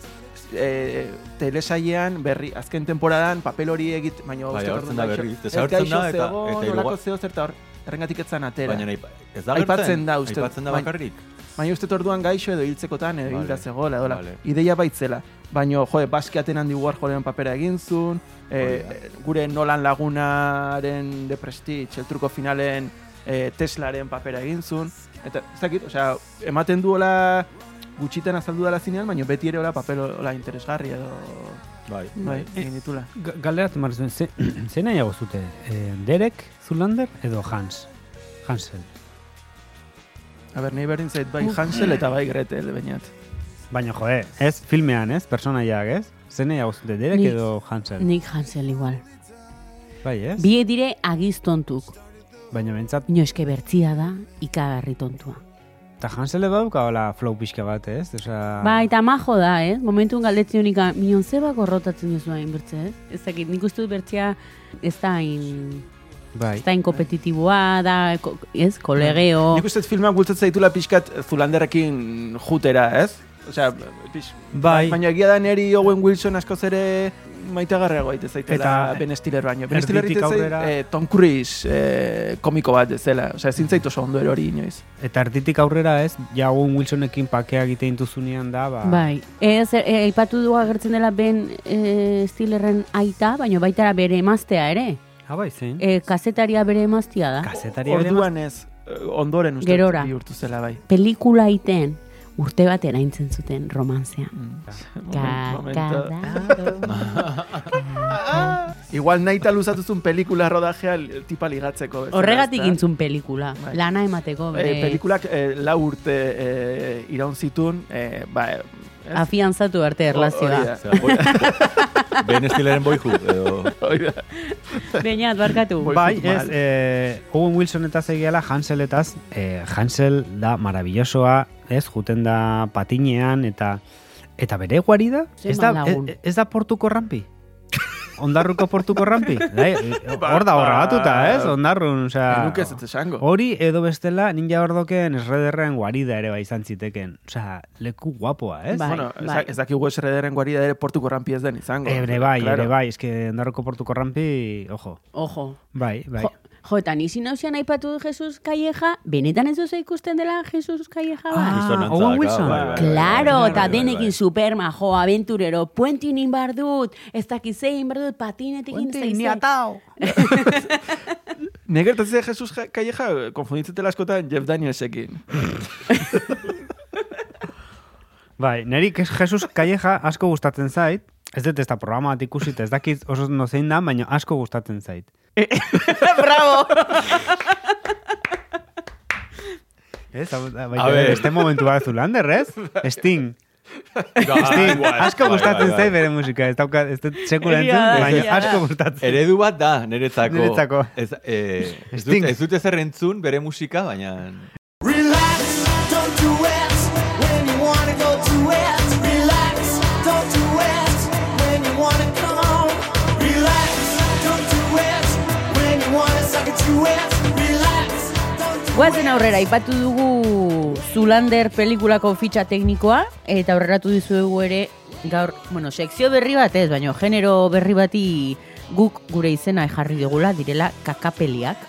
e, telesailean berri, azken temporadan papel hori egit, baina
Bai,
uste
agertzen da berriz.
Ez
Desagertzen
gaixo
da, eta-
zegoen,
eta hiru-
horrelako zeo zerta hor, errengatik etzan atera.
Baina
Baina,
aipa- ez da
Aipatzen
agertzen.
da uste- bai.
Aipatzen da
baina-
bakarrik.
uste orduan gaixo edo hiltzekotan edo
Vale.
hilda zegoela, edo
Vale.
ideia baitzela. Baina, jo, eh, baskeaten handi Warholen papera egin zuen, e,
Hori
gure nolan lagunaren de Prestige, el truko finalen e, Teslaren papera egin zuen. Eta, ez dakit, osea, ematen duela gutxitan azaldu dela zinean, baina beti ere hola papel hola interesgarri edo
Bai.
Bai, egin ditula.
Galderat, Marzuen, ze, ze nahiago zute? Eh, Derek, Zulander, edo Hans? Hansen.
Mm.
A ber, nahi berdin zait bai Hansel eta bai Gretel, bainat.
Baina, jode, ez filmean, ez? Personaiak, ez? Zene hau dederek
Nik-
edo Hansel.
Nik Hansel igual.
Bai, ez?
Biek dire agiztontuk.
Baina bentsat,
Ino eske bertzia da, ikagarri tontua.
eta Hansele baduka hola flow pixka bat, ez? Osa...
Ba, eta majo da, eh? Momentu galdetzen ah, unika, minon zeba gorrotatzen duzu hain bertze, eh? Ez dakit, nik uste dut bertzea ez da hain...
bai.
Ez da hain kompetitiboa, da, ko- ez, kolegeo...
Nik uste dut filmak bultzatzen zaitula pixkat Zulanderrekin jutera, ez? Osea, pix...
Bai.
Baina egia da neri Owen Wilson askoz ere maitagarriago egite zaitela
Eta-
Ben Stiller baino. Ben Stiller
erditik
egiten zait
aurrera-
eh, Tom Cruise eh, komiko bat dezela. Osea, ezin zaitu oso ondo erori inoiz.
Eta erditik aurrera, ez? Ja, Owen Wilsonekin pakea egiten intuzunean da, ba...
Bai, ez, e, aipatu du agertzen dela ben e, Stillerren aita, baina baitara bere emaztea ere.
Ah, bai, zein?
E, kazetaria bere emaztea da.
Kazetari bere
Orduan ez, eh, ondoren uste dut
Gerora.
bihurtu zela bai.
Pelikula iten urte bat eraintzen zuten romantzean.
Mm. Momento. Ba,
Kakadaro.
Igual nahita luzatuzun pelikula rodajea li- tipa ligatzeko. bezala,
Horregatik
ezta?
intzun pelikula,
Bai.
lana emateko bere
Eh, pelikulak eh, lau urte eh, iraun zitun, eh, ba, eh, ez?
afiantzatu arte
Hori
erlazioa.
da.
Zera, boi- Ben Stilleren boyhood, edo...
Hori da.
Beñat, barkatu.
Bai.
Bai,
Mal.
ez, eh, Owen Wilsonetaz egiala Hanseletaz, eh, Hansel da maravillosoa, ez, juten da patinean, eta eta bere guarida,
Ze
ez da, e,
malagun.
ez, ez da portuko rampi? Ondarruko portuko rampi? Dai, hor da horra batuta, ez? Ondarrun,
Ba,
osea...
Nuk ez ez esango.
Hori edo bestela ninja ordoken esrederren guarida ere bai izan ziteken. Osea, leku guapoa, ez?
Bai,
bueno, ez,
bai.
ez dakigu esrederen guarida ere portuko rampi ez den izango.
Ere bai,
Claro.
ere bai, eske ondarruko portuko rampi, ojo.
Ojo.
Bai, bai.
Jo, jo, eta nisi nausian aipatu du Jesus Calleja, benetan ez duzu ikusten dela Jesus Calleja bat?
Ah,
Gizonontzak,
Owen Wilson.
bai, bai, bai, bai.
Claro,
Bai,
eta
bai, bai.
denekin super majo, aventurero, puentin inbar dut, ez dakizein bar dut, patinetekin ez dakizein.
Ni gertatzen zait Jesus Ja- Calleja konfunditzete askotan Jeff Danielsekin.
Bai, neri kes- Jesus Calleja asko gustatzen zait. Ez dut ez da programa bat ikusi eta ez dakit oso no zein da, baina asko gustatzen zait. Bravo! Ez, hau- baita
A
ere,
ber.
beste momentu bat Zulander, ez? Sting. Sting. asko
Bai,
gustatzen
bai, bai.
zait bere musika, ez dauka, ez dut sekula
Egia
entzun,
da,
baina
egia da.
asko gustatzen.
Eredu bat da, niretzako.
Niretzako.
Ez, eh, ez,
Sting.
dut, ez dut ezer entzun bere musika, baina...
Relax, don't do it when you wanna go to it. Relax, don't do it when you wanna come home. Relax, don't do it when you wanna suck it to it. Relax, don't do
Guazen aurrera, aipatu dugu Zulander pelikulako fitxa teknikoa, eta aurreratu dizuegu ere gaur, bueno, sekzio berri bat ez, baina genero berri bati guk gure izena jarri dugula direla kakapeliak.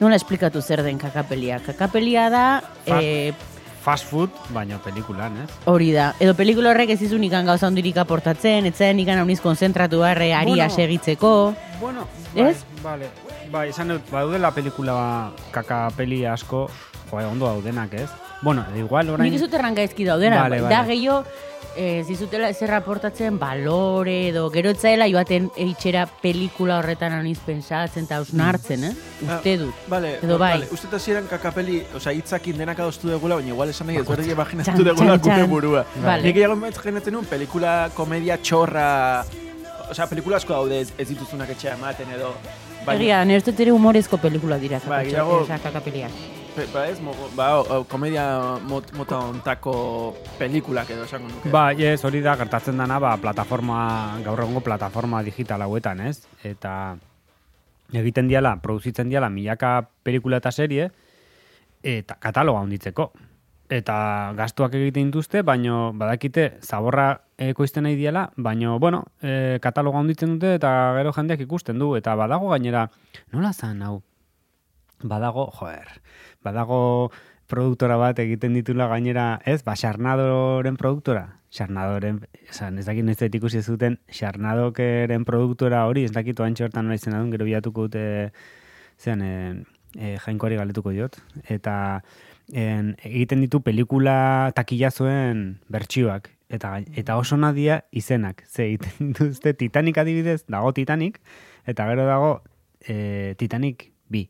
Nola esplikatu zer den kakapelia? Kakapelia da,
Fa-
eh,
Fast food, baina pelikulan, ez?
Hori da, edo pelikula horrek ez izun ikan gauza hondirik aportatzen, etzen ikan hauniz konzentratu barre aria
Bueno.
segitzeko.
Bueno,
bai, Ez?
Vale. Bai, esan dut, badaudela pelikula kakapeli asko, jo, ondo daudenak, ez? Bueno, igual orain...
Nik izut errangaizki daudena, bai,
Vale,
da
vale.
gehiago eh, ez izutela zer aportatzen balore edo gero etzaela joaten eitxera pelikula horretan hauniz pensatzen eta
Mm.
hausnartzen, eh?
Ah.
Uste dut.
Vale,
Edo bai.
vale. Uste eta ziren kakapeli, osea, hitzakin denak adostu degula, baina igual esan nahi ezberdin
Txan,
imaginatu degula
txan,
gure
txan.
burua.
Vale.
Nik gehiago imaginatzen nuen pelikula, komedia, txorra... Osea, pelikula asko daude ez, ez dituzunak etxea ematen edo... bai. baina-
Egia, nire ustez ere humorezko pelikula dira,
Ba,
kakatxo-
gehiago-
osea, kakapeliak.
Pe- Ba ez, mo- ba, o- o, komedia mot, mota ontako pelikulak edo esango nuke.
Bai, ez, hori da gertatzen dana, ba, plataforma, gaur egungo plataforma digital hauetan, ez? Eta egiten diala, produzitzen diala milaka pelikula eta serie, eta kataloga handitzeko. Eta gastuak egiten dituzte, baino badakite zaborra ekoizten nahi diala, baino, bueno, e, kataloga handitzen dute eta gero jendeak ikusten du, eta badago gainera, nola zan hau? Badago, joer, badago produktora bat egiten ditula gainera, ez, ba, Xarnadoren produktora. Xarnadoren, esan, ez dakit nezte ikusi zuten, Xarnadokeren produktora hori, ez dakit oantxe hortan noiz zenadun, gero bilatuko dute, zean, e, e, jainkoari galetuko diot. Eta en, egiten ditu pelikula takillazoen bertsioak. Eta, gai- eta oso nadia izenak. Ze egiten dituzte Titanic adibidez, dago Titanic, eta gero dago e, Titanic bi.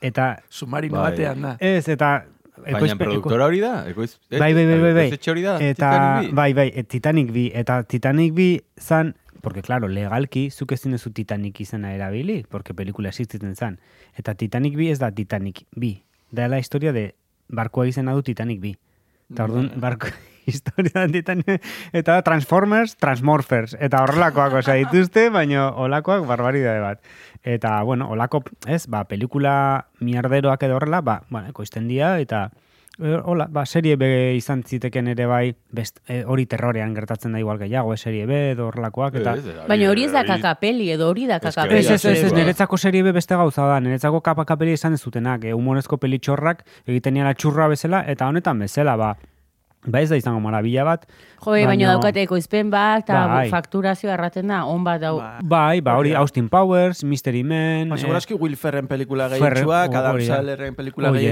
Eta
Submarino
Bai.
batean da.
Ez, eta
Baina
ekoizpe-
produktora hori da? Ekoiz, eh,
Bai, bai, bai, bai, bai.
ekoizetxe hori da?
Eta,
Titanic bi?
bai, bai, e, Titanic bi. Eta Titanic bi zan, porque, claro, legalki, zuk ezin duzu Titanic izena erabili, porque pelikula existitzen zan. Eta Titanic bi ez da Titanic bi. Da la historia de barkoa izena du Titanic bi. Eta orduan, barko historia da Titanic Eta da Transformers, Transmorphers. Eta horrelakoak, osea, dituzte, baino olakoak barbaridade bat. Eta, bueno, olako, ez, ba, pelikula mierderoak edo horrela, ba, bueno, ekoizten dira, eta... Eh, Hola, ba, serie B izan ziteken ere bai, best, eh, hori terrorean gertatzen da igual gehiago, eh, serie B edo horrelakoak, eta...
Ez, ez,
Baina hori ez da
hori-
kakapeli, edo hori da
Ez que
Ez,
kakapeli.
ez, ez, ez,
Ba.
niretzako serie B beste gauza da, niretzako kapakapeli izan dezutenak, eh, humorezko pelitxorrak, egiten niala txurra bezala, eta honetan bezala, ba, ba ez da izango marabila bat.
Jo, eh, baina daukate ekoizpen bat, eta
Bai.
fakturazio erraten da, on bat dau.
Ba,
Bai, ba, hori
Hori da.
Austin Powers, Mystery Men...
Ba,
eh,
segurazki Will Ferren pelikula
Ferrell,
gehientsuak, Adam
hori da.
Sandlerren pelikula
Horiek,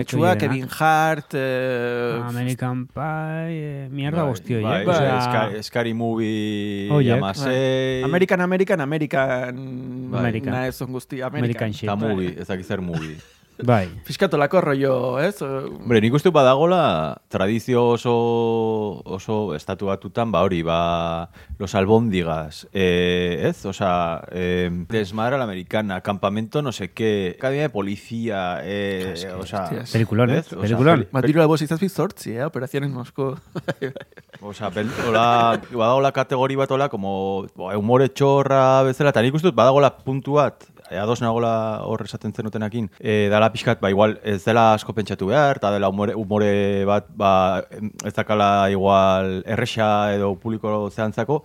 horienak.
gehientsuak, Kevin Hart, eh,
Ah, American Pie, eh, mierda
Bai,
guzti
bai,
horiek.
bai,
osea,
Sky- Scary Movie,
Horiek. bai.
Yamasei,
American, American, eh, American,
Bai.
American.
nahez on guzti,
American
American.
shit.
eta movie, ez dakit zer movie.
Bai.
Fiskatolako rollo, ez?
Hombre, nik uste badagola tradizio oso, oso estatu batutan, ba hori, ba, los albóndigas, eh, ez? Osa, eh, desmadre a la americana, campamento no sé qué, academia de policía, eh, osa...
hostias.
Pelikulon,
ez?
eh?
Osea,
Pelikulon.
peli-
Matiru albo zizazpik zortzi, eh? Operazioen Mosko.
Osa, pel, hola, badagola kategori bat hola, como ba, humore txorra bezala, eta nik uste dut badagola puntu bat, e, ados nagola hor esaten zenutenakin, e, dala pixkat, ba, igual, ez dela asko pentsatu behar, eta dela humore, humore bat, ba, em, ez dakala igual erresa edo publiko zehantzako,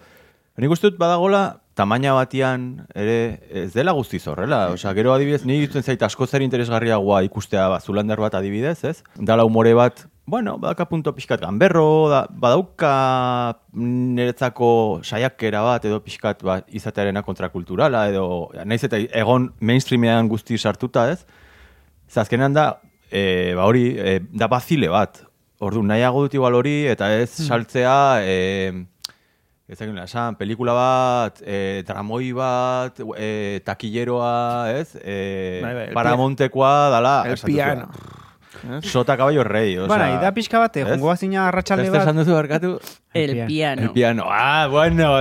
nik uste dut badagola, tamaina batian ere ez dela guztiz horrela. Osea, gero adibidez, ni iruditzen zait asko zer interesgarriagoa ikustea ba, zulandar bat adibidez, ez? Dala umore bat, bueno, badaka punto pixkat ganberro, da, badauka niretzako saiakera bat edo pixkat ba, izatearena kontrakulturala edo naiz eta egon mainstreamean guzti sartuta, ez? Ze azkenean da, e, ba hori, e, da bazile bat. Ordu nahiago dut igual hori, eta ez saltzea, e, ez dakit nola esan, pelikula bat, e, tramoi bat, e, takilleroa, ez? E,
Bai, bai, el
paramontekoa, dala...
El
esan duzu,
piano. Eh,
Sota caballo rey, o
Bara,
sea,
da pixka bat,
ez?
jongo bazina arratsalde
Beste
bat.
esan duzu barkatu?
El
El
piano.
piano. Ah, bueno.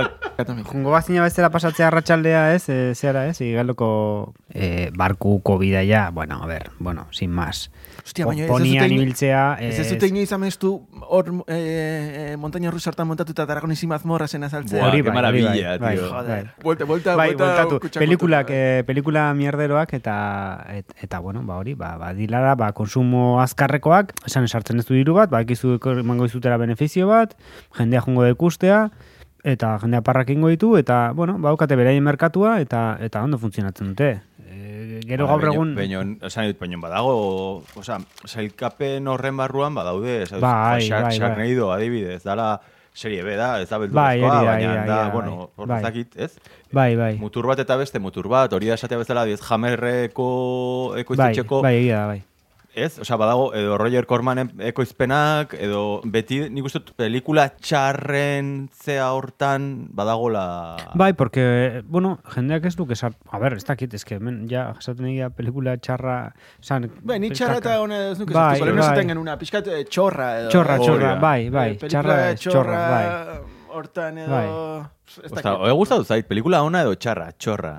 Jungo bazina bezala pasatzea arratsaldea ez, e, zehara ez, igeloko e, barkuko bidaia, bueno, a ver, bueno, sin más.
Hostia, baina ez
Ponian
zuten-
ibiltzea,
Ez ez
ez-
dute inoiz amestu hor eh, eh, montaña rusa hartan montatuta Dragonis y mazmorrasen azaltzea.
Buah,
Hori
qué
bai, hori bai,
maravilla,
bai.
tío.
Joder.
Bai.
Vuelta, vuelta,
bai,
vuelta,
bueltatu.
kutsakutu.
Pelikulak, eh, pelikula mierderoak eta et, eta bueno, ba hori, ba badilara, ba konsumo azkarrekoak, esan esartzen ez du diru bat, ba ekizu emango izutera benefizio bat, jendea jongo da ikustea eta jendea parrak ingo ditu eta bueno, badukate beraien merkatua eta eta ondo funtzionatzen dute. E, gero gaur egun
Baina, esan dut, baina badago, osea, sailkapen horren barruan badaude, esan dut,
Bai,
Shark-
bai, bai.
Sharknado adibidez, dala serie B da, ez da
Bai,
beldurrezkoa,
hori da,
baina
hori da,
da,
hori da,
bueno,
bai.
hor
Bai.
ez dakit, ez?
bai, bai.
Mutur bat eta beste mutur bat, hori da esatea bezala, diez jamerreko
Bai,
ekoiztetxeko,
bai, egia da, bai.
ez? Osea, badago, edo Roger Cormanen ekoizpenak, edo beti, nik uste, dut, pelikula txarren zea hortan badagola...
Bai, porque, bueno, jendeak ez duke sar... A ber, ez dakit, ez que, men, ja, jasaten egia pelikula txarra... San,
Bai, ni txarra eta hona ez nuke
Bai,
zertuko. Lehen
bai.
esaten genuna, pixkat eh, txorra edo.
Txorra,
Hori
txorra,
da.
bai, bai,
Eh, pelikula
txarra, ez, txorra, bai.
Hortan edo...
Bai.
Ez
Osta,
dakit.
oe gustatu zait, pelikula ona edo txarra, txorra.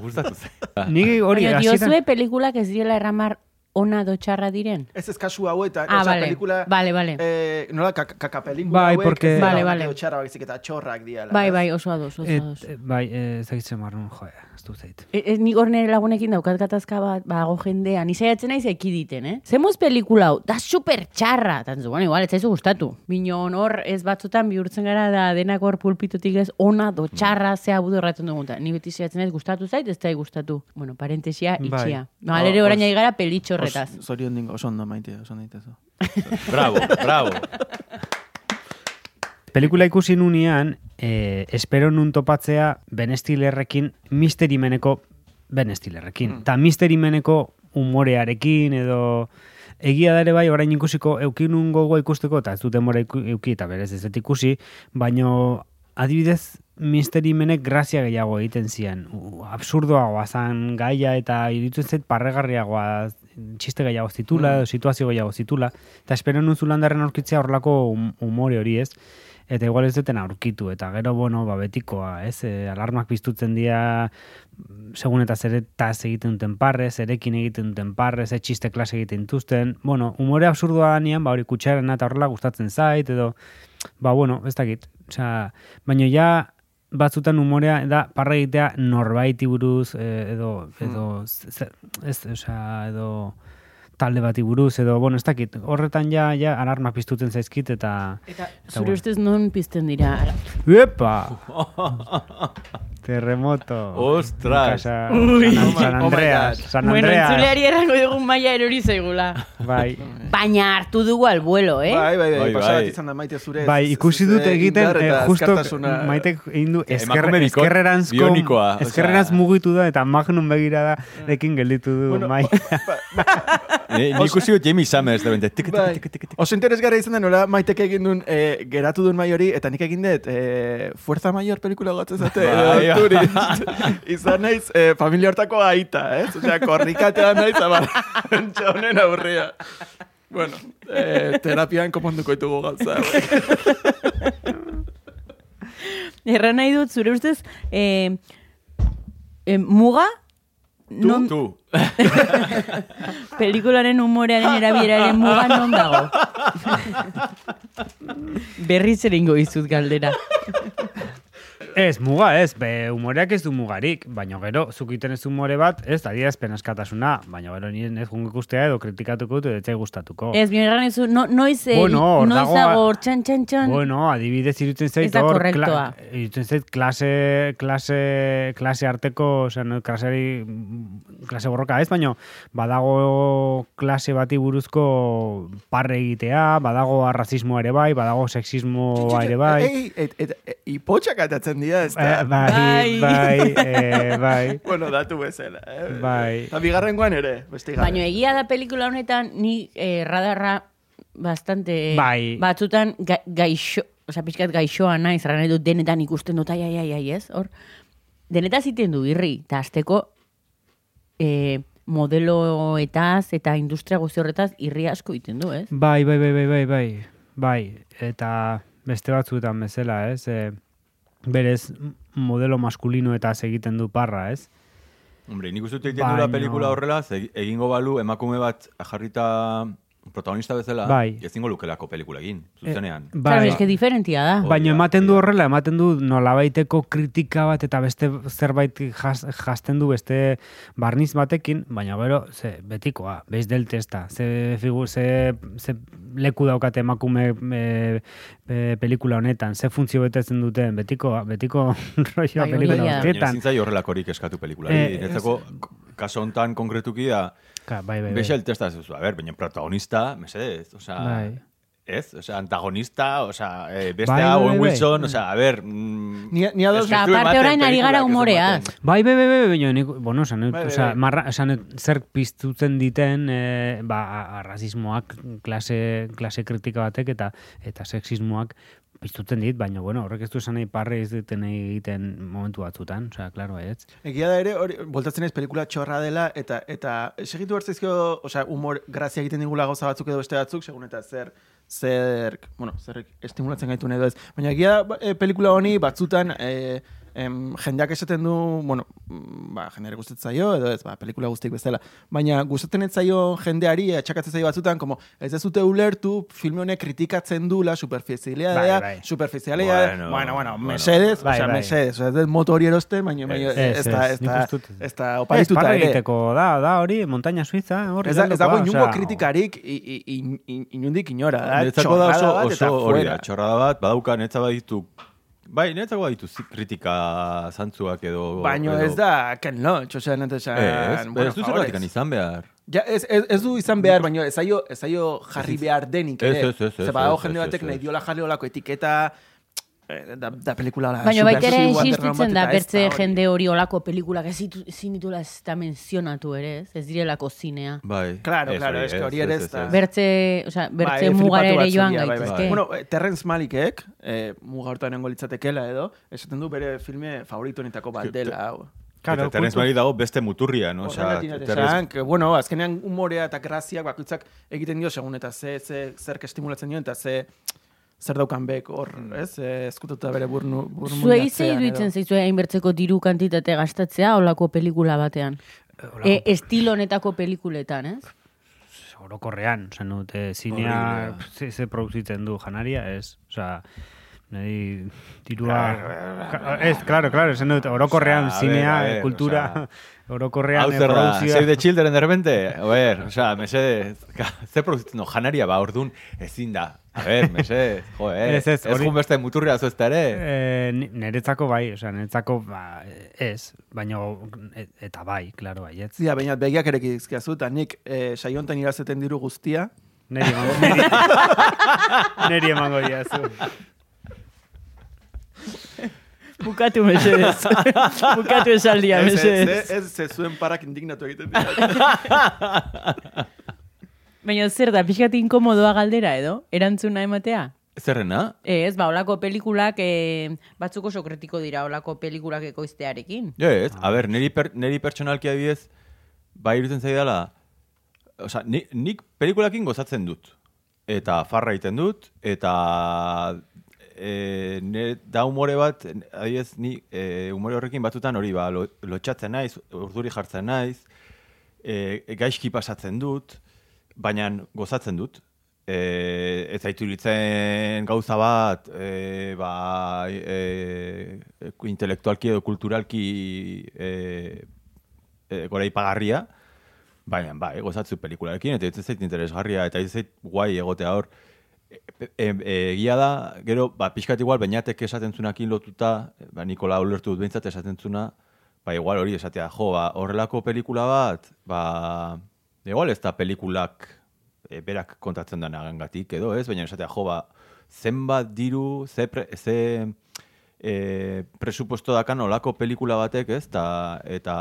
gustatu zait.
Ni hori,
Baina
hasieran-
diozue pelikulas ez diela erramar ona do txarra diren.
Ez ez kasu hauetan,
Ah,
ah,
vale,
pelikula...
vale, vale.
Eh, nola, kak, kakapelin
Bai,
hauek,
porque-
ez dira
Vale,
onak
vale.
edo Txarra baizik eta txorrak diala.
Bai, bai, oso ados, oso ados.
Et, eh, bai, eh, ez dakit zemarrun, joe, ez du zait.
E, e, nik hor nire lagunekin daukat gatazka bat, bago jendea, ni saiatzen naiz ekiditen, eh? Zemoz pelikula hau, da super txarra, tantzu, bueno, igual, ez zaizu gustatu. Bino honor, ez batzutan bihurtzen gara da denak hor pulpitutik ez ona do txarra zea budu erraten dugun. Ta Ni beti saiatzen naiz gustatu zait, ez da gustatu. Bueno, parentesia itxia. No, alere
Os-
orain ari gara pelitxorretaz.
Os- Zorion dingo, oso ondo maite, oso ondo ditezu.
Bravo, bravo.
Pelikula ikusi nunean, eh, espero nun topatzea Ben Stillerrekin, Mystery Meneko Ben Stillerrekin. Ta Mystery Meneko umorearekin edo egia da ere bai orain ikusiko eukinun gogoa ikusteko eta ez dut denbora iku- euki eta berez ez dut ikusi, baino adibidez misterimenek grazia gehiago egiten zian. U- Absurdoagoa zan gaia eta iruditzen zait parregarriagoa txiste gehiago zitula, edo situazio gehiago zitula. Eta espero nun zulandarren aurkitzea horlako hum- humore hori ez. Eta igual ez duten aurkitu, eta gero, bueno, ba, betikoa, ez? E, alarmak piztutzen dira, segun eta zeretaz egiten duten parrez, erekin egiten duten parrez, etxiste klase egiten dituzten. Bueno, humore absurdoa nian, ba hori kutsaren eta horrela gustatzen zait, edo, ba bueno, ez dakit. Osea, baina ja batzutan umorea da parra egitea norbaiti buruz eh, edo edo ze- ze- ez, osea, edo talde bati buruz edo bueno, ez dakit. Horretan ja ja alarma piztuten zaizkit eta
Eta
bueno.
zure ustez non pizten dira?
Epa! Terremoto.
Ostras.
Casa-
Ui.
San,
Oh my- oh
San
my
Andreas.
God.
San
Bueno,
Andreas.
entzuleari erango dugun maia erori zaigula.
Bai.
Baina hartu dugu al vuelo, eh?
Bai, bai, bai,
Bai,
pasa
bai.
bat izan da maite zure.
Bai,
ez-
ikusi
ez-
dut
eh,
egiten,
indar
eh,
eta
justo
azkartasuna-
maitek egin du esker,
Eh, emakume biko-
eskerreranzko,
bionikoa, osea.
eskerrerantz mugitu da eta magnum begira da, dekin gelditu du bai.
Bueno,
mai.
Ni ni ikusi dut Jamie Summers, de bente, tik,
Bai.
tik, tik, tik, tik.
Oso interesgarra izan da nola maitek egin duen, eh, geratu duen mai hori, eta nik egin dut, eh, Fuerza Mayor pelikula gotzen zate,
Bai.
edo turist. izan naiz, eh, familia hortako aita, ez? Osea, korrikatea naiz, abar, honen aurria. Bueno, eh, terapian koponduko ditugu gauza. Bai. hauek.
Erran nahi dut, zure ustez, eh, eh, muga, non,
Tu.
pelikularen umorearen erabileraren muga non dago.
Berriz eringo izut galdera.
ez, muga ez, be, humoreak ez du mugarik, baina gero, zukiten ez humore bat, ez, adierazpen askatasuna, baina gero nien ez gungo ikustea edo kritikatuko dut edo gustatuko.
Ez, bion erran ezu, no, noiz, eh,
Oh. Bueno, hor
noiz
dago-
dago hor txan, txan, txan.
Bueno, adibidez irutzen zait
Ez da
hor
korrektoa.
irutzen zait klase klase klase arteko, osea, no, klaseari mm, klase borroka ez, baino badago klase bati buruzko parre egitea, badago arrazismo ere bai, badago sexismoa ere bai.
Ei, et, et, e, et, ipotxak atatzen dira, ez
Eh,
da?
bai,
Bai.
bai, eh, bai.
Bueno, datu bezala. Eh?
Bai.
Eta bigarrengoan ere, beste gara.
Baina egia da pelikula honetan ni eh, radarra bastante eh,
Bai.
batzutan ga, gaixo, osea pixkat gaixoa naiz, erran nahi dut denetan ikusten dut ai ai ai ai, ez? Hor deneta ziten du irri, eta azteko eh, modeloetaz eta industria guzti horretaz irri asko egiten du, ez?
Bai, bai, bai, bai, bai, bai, bai, eta beste batzuetan bezala, ez, e, berez m- modelo maskulino eta egiten du parra, ez?
Hombre, nik uste dut egiten dula
Baino-
pelikula horrela, ze egingo balu emakume bat jarrita protagonista bezala,
Bai.
ezingo lukelako pelikula egin, zuzenean.
Eh,
Claro,
bai.
eske diferentia da.
Hori
Baina
da,
ematen
hori
du
da.
horrela, ematen du nolabaiteko kritika bat eta beste zerbait jas, jasten du beste barniz batekin, baina gero, ze, betikoa, bez del testa, ze, figu, ze, ze leku daukate emakume e, e, pelikula honetan, ze funtzio betetzen duten, betikoa, betiko roioa
Bai, hori
pelikula
da.
Baina
horretan.
ezin zai horrelakorik eskatu pelikulari.
Eh,
Eh, Netzako, kaso hontan konkretuki da,
Ka, bai, bai,
Beixa
bai.
el testa ez duzu, a ber, baina protagonista, mesedez, osea,
Bai.
ez, osea, antagonista, osea, eh, beste
Bai,
bai,
bai,
Owen
bai.
Wilson, osea, a ber... Mm,
Ni- ni ados-
ez ditu
Eta aparte
ematen
orain ari gara
pelikurak, ez du
umoreaz.
ematen.
Bai, bai, bai, bai, baina nik, bueno, esan dut,
Bai, bai,
osea,
bai.
marra, esan dut, zer piztutzen diten, eh, ba, arrazismoak, klase, klase kritika batek eta eta sexismoak piztutzen dit, baina, bueno, horrek ez du esan nahi parre ez duten egiten momentu batzutan, osea, klaro, ez?
Egia da ere, hori, voltatzen ez pelikula txorra dela, eta eta segitu hartzizkio, osea, humor, grazia egiten digula gauza batzuk edo beste batzuk, segun eta zer, zer, bueno, zer estimulatzen gaitu edo ez. Baina egia da, ba, e, pelikula honi batzutan, e, em, jendeak esaten du, bueno, mm, ba, jendeari gustatzen zaio, edo ez, ba, pelikula guztik bezala. Baina gustatzen ez zaio jendeari, atxakatzen zaio batzutan, como, ez ez dute ulertu, filme honek kritikatzen dula, superfizialidea,
Bai, bai.
superfizialidea,
Bueno,
bueno, bueno,
bueno.
mesedez,
Bai,
osea,
bai.
mesedez, osea, ez dut moto hori erosten, baina, baina,
Ez,
ez,
ez,
da,
ez,
ez
nik
da,
uste dut.
ez da,
Ez,
oparituta
parre
ere.
egiteko, da, da hori, montaña suiza, hori.
Ez, da, ez dago inungo kritikarik i- i- in- in- inundik inora. Da,
Netzako da oso,
txorrada Ah, bat eta
oso hori da,
fuera.
txorrada bat, badauka netza baditu, bai, netzako baditu zi- kritika zantzuak edo...
Baino
edo-
ez da, Ken Loach, osea, nete esan,
Ez,
bueno,
ez du
favores.
zergatik izan behar.
Ja, ez, ez, ez du izan behar, baino ez aio, ez aio jarri behar denik ere.
Ez, ez, ez, ez,
Ze badago
ez,
jende
ez,
batek
ez,
nahi
ez.
diola jarri olako etiketa, eh, da, da pelikula
Ah,
la
Baina baita ere
supersexy,
insistitzen
Waterman
da
bat, eta ez
bertze
hori.
jende hori olako pelikulak ezitu- ezin ditula ez da mentzionatu ere, ez? ez direlako zinea.
Bai.
Claro,
Ez,
claro, es que hori ere ez da.
Bertze, o sea, bertze
Bai,
mugara
flipatu
ere
bat
joan
zuria, bai, bai.
gaitezke.
Bueno, eh, Terrence Malikek, eh, muga hortan nengo litzatekela edo, esaten du bere filme favoritoenetako bat dela. hau.
Claro,
Claro,
eta Terrence
kultu-
Malick dago beste muturria, no? Osea,
Horregatik dut
Terrence-
esan, que, bueno, azkenean umorea eta graziak bakoitzak egiten dio segun eta ze, ze zerk estimulatzen dio eta ze zer daukan bek hor,
Mm.
ez? Eh, Ezkututa bere burnu, burnu
Zuei zei duitzen zaizue hainbertzeko diru kantitate gastatzea olako pelikula batean. E, estilo honetako pelikuletan, ez?
orokorrean, esan dut, eh, zinea ze, ze produzitzen du janaria, ez? Osea, nahi dirua... Ka- Ez, claro, claro, esan dut, orokorrean
Osea, a
zinea,
ver, a ver,
kultura,
osea.
orokorrean
Hau
eh,
zer da,
produkzioa.
Save the Children derbente? A ver, osea, mesedez, ka- ze produzitzen no, janaria ba, ordun ezin da. A ver, mesedez, jo, eh,
Ez, ez,
ez
hori-
jun beste muturria zu ezta ere.
Eh, ni- niretzako bai, osea, niretzako ba, ez, baina eta bai, claro, baietz.
Zia, baina begiak ere dizkiazu, eta nik eh, saiontan irazeten diru guztia,
Neri emango, neri, neri emango diazu.
Bukatu mesedez. Bukatu esaldia
ez, ez,
mesedez.
ez, ez, ez zuen parak indignatu egiten dira.
Baina zer da, pixkat inkomodoa galdera edo? Erantzuna ematea?
Zerrena?
E,
Ez, ba, olako pelikulak, eh, batzuk oso kritiko dira olako pelikulak ekoiztearekin.
Ez, a ber, niri, per, niri pertsonalki adibidez, bai iruditzen zaidala, osea, ni, nik pelikulakin gozatzen dut. Eta farra egiten dut, eta e, ne, da umore bat, adibidez, ni e, umore horrekin batzutan hori, ba, lo, lotxatzen naiz, urduri jartzen naiz, e, gaizki pasatzen dut, baina gozatzen dut. E, ez zaitu iruditzen gauza bat, e, ba, e, intelektualki edo kulturalki e, e, goraipagarria, baina bai, gozatzu pelikularekin, eta ez zait interesgarria, eta ez zait guai egotea hor. E- e- e- Egia da, gero, ba, pixkat igual, bainatek esaten zunakin lotuta, ba, Nikola ulertu dut behintzat esaten zuna, ba, igual hori esatea, jo, ba, horrelako pelikula bat, ba, igual ez da pelikulak e, berak kontatzen dena gangatik, edo ez, baina esatea, jo, ba, zenbat diru, ze, pre, ze e, presupuesto dakan olako pelikula batek, ez, ta, eta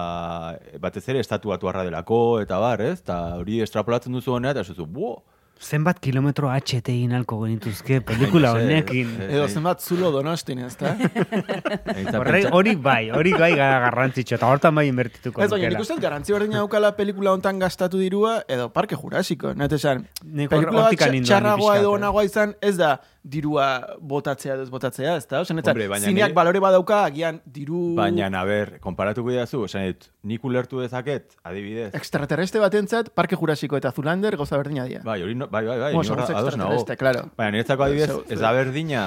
batez ere estatu batu delako, eta bar, ez, eta hori estrapolatzen duzu honea, eta zuzu, buo,
Zenbat kilometro HT inalko genituzke pelikula
Baina, eh, ez,
honekin.
ez,
Edo zenbat zulo donostin, ez da?
Eta
Horre,
pentsa-
hori bai, hori bai gara garrantzitsua, eta hortan bai inbertituko
Ez baina, nik uste dut garantzi berdina daukala pelikula hontan gastatu dirua, edo Parke Jurasiko, nahi esan.
Nik hor-
Pelikula
hortik
bat
anindu
txarragoa
ni
edo
pixkat, eh.
onagoa izan, ez da dirua botatzea edo ez botatzea, ez da? Osa, netzat,
Hombre, baina
zineak
nire-
balore badauka, agian diru
Baina, a ber, konparatuko didazu, esan dut, nik ulertu dezaket, adibidez.
extraterrestre batentzat, Parke Jurasiko eta Zulander gauza berdina dira.
Ba-
Bai, hori, no, bai, bai, bai,
Bueno,
ni horra
según ze
ados nago.
extraterrestre, claro.
Baina, niretzako adibidez,
Zeu-
ez da berdina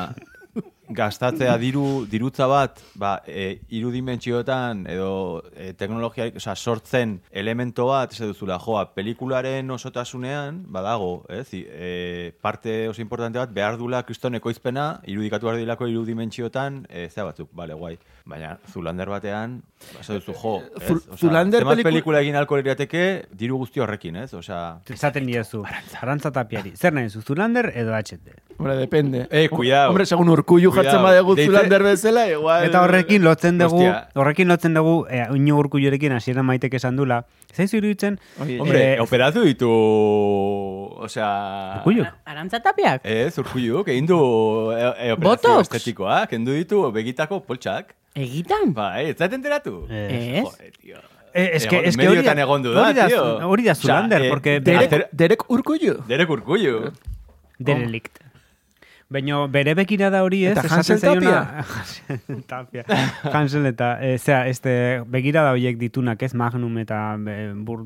gastatzea diru, dirutza bat, ba, e, irudimentsioetan edo e, teknologia, osea, sortzen elemento bat, ez duzula, joa, pelikularen osotasunean, badago, ez, I- e, parte oso importante bat, behar dula kriston ekoizpena, irudikatu behar dilako irudimentsioetan, e, zea batzuk, bale, guai. Baina, Zulander batean, ba, ez duzu, jo, ez,
Zu-
osea,
Zulander
zenbat
peliku-
pelikula egin alko lirateke, diru guzti horrekin, ez, osea...
Zaten diezu, arantza tapiari. Zer nahi duzu, Zulander edo HT?
Hombre, depende.
Eh, cuidado.
Hombre, segun urkullu
Cuidado.
jartzen badegu
Deitze-
Zulander bezala, igual...
Eta horrekin lotzen dugu,
Hostia.
horrekin lotzen dugu, eh, oino urkullorekin hasiera maitek esan dula. Zaizu iruditzen,
Oye,
Hombre,
Eh,
operatu ditu... Osea...
Urkullu?
Arantza tapiak?
E.
Ez, urkulluk, egin du e, e, operazio
Botox?
estetikoa, kendu ditu begitako poltsak.
Egitan?
Ba,
Bai, ez zaten enteratu?
Ez?
Joder, tío.
Eh, es que,
Egon-
es que
medioetan egon du da,
hori da,
tío.
zu- hori da
Osea,
Zulander,
eh,
porque
Derek,
Derek urkullu.
Derek urkullu.
derelikt. Baina bere bekira da hori ez,
Oh. Eta
esaten
Hansel
zaiona- Hansel Tapia. Hansel eta, eh, zera, este, bekira da horiek ditunak ez, Magnum eta eh, bur,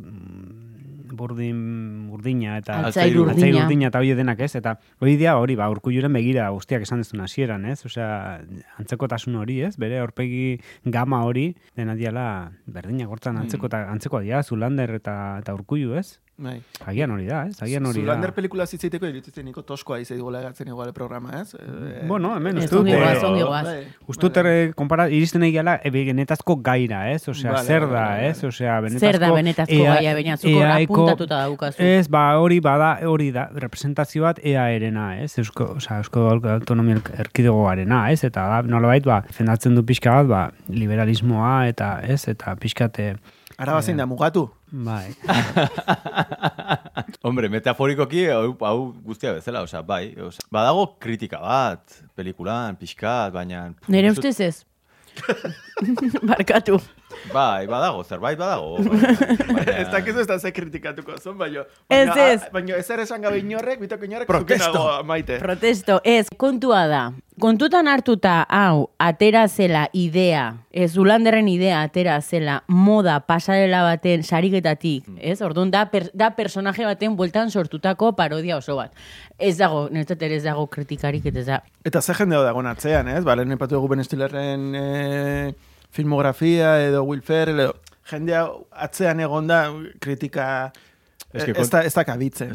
burdin, burdina eta...
Altzair
Altzair
Atzai
urdina.
urdina eta hoi denak ez, eta hori dia hori, ba, urkulluren begira guztiak esan dezun hasieran, ez? Osea, antzekotasun hori, ez? Bere aurpegi gama
Hmm.
hori, dena diala berdinak hortzan antzeko, eta antzekoa dira, Zulander eta, eta urkullu, ez?
Bai.
Agian hori da, ez? Agian hori da.
Zulander pelikula zitzeiteko iruditzen niko toskoa izaigola egatzen igual programa, ez? Eh,
Bueno, hemen
Ez
uste dut...
ongi goaz,
eh,
ongi goaz.
bai,
Ustut
bai.
er, konpara, iristen nahi gala, e, benetazko gaira, ez? Osea,
Vale,
zer
vale,
da,
vale,
ez? Osea, benetazko...
Zer da benetazko gaia, baina zuko apuntatuta daukazu.
Ez, ba, hori, bada, hori da, representazio bat EARena, ez? Eusko, osea, Eusko Autonomia Elk- Erkidegoarena, ez? Eta da, nolabait, ba, defendatzen du pixka bat, ba, liberalismoa, eta, ez? Eta pixkate,
Araba zein da mugatu.
bai,
Hombre, metaforikoki hau, hau guztia bezala, osea, bai, osea, badago kritika bat, pelikulan, pixkat, baina...
Nere
Uste-
ustez ez. Barkatu.
Bai, badago, zerbait badago. baina- baina-
Ez dakizu ez da ze kritikatuko zon, baina...
Ez,
baina- ah,
ez.
Baina ez ere esan gabe inorrek, bitako inorrek...
Protesto.
zukenago, Maite.
Protesto.
Ez, kontua da. Kontutan hartuta, hau, atera zela idea, ez ulanderren idea atera zela moda pasarela baten sariketatik,
Hmm.
ez? Orduan da, per, da personaje baten bueltan sortutako parodia oso bat. Ez dago, niretzat ere ez dago kritikarik, eta ez da,
Eta ze jendeo dagoen atzean, ez? Ba, lehen epatu dugu Ben Stillerren e, filmografia edo Will Ferrell edo... Jendea atzean egon da kritika... Eh,
Ez
Ez,
que
ez, da, ez da kabitzen.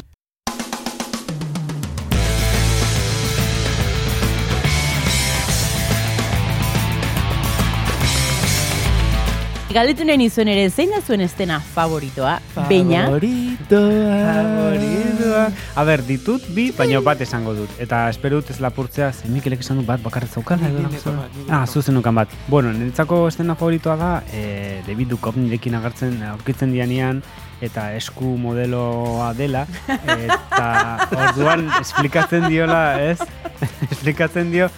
Galetu nahi nizuen ere, zein da zuen estena favoritoa? Baina,
Favoritoa. A ber, ditut bi, baina bat esango dut. Eta espero dut ez lapurtzea, ze Mikelek esan du bat bakarrik zaukala. edo
Nik neukan
nahazua.
bat, nik neukan
Ah,
bat.
zuzen nukan bat. Bueno, niretzako estena favoritoa da, eh, David Duchovnirekin agertzen, eh, aurkitzen dianean, eta esku modeloa dela, eta orduan esplikatzen diola, ez? esplikatzen dio,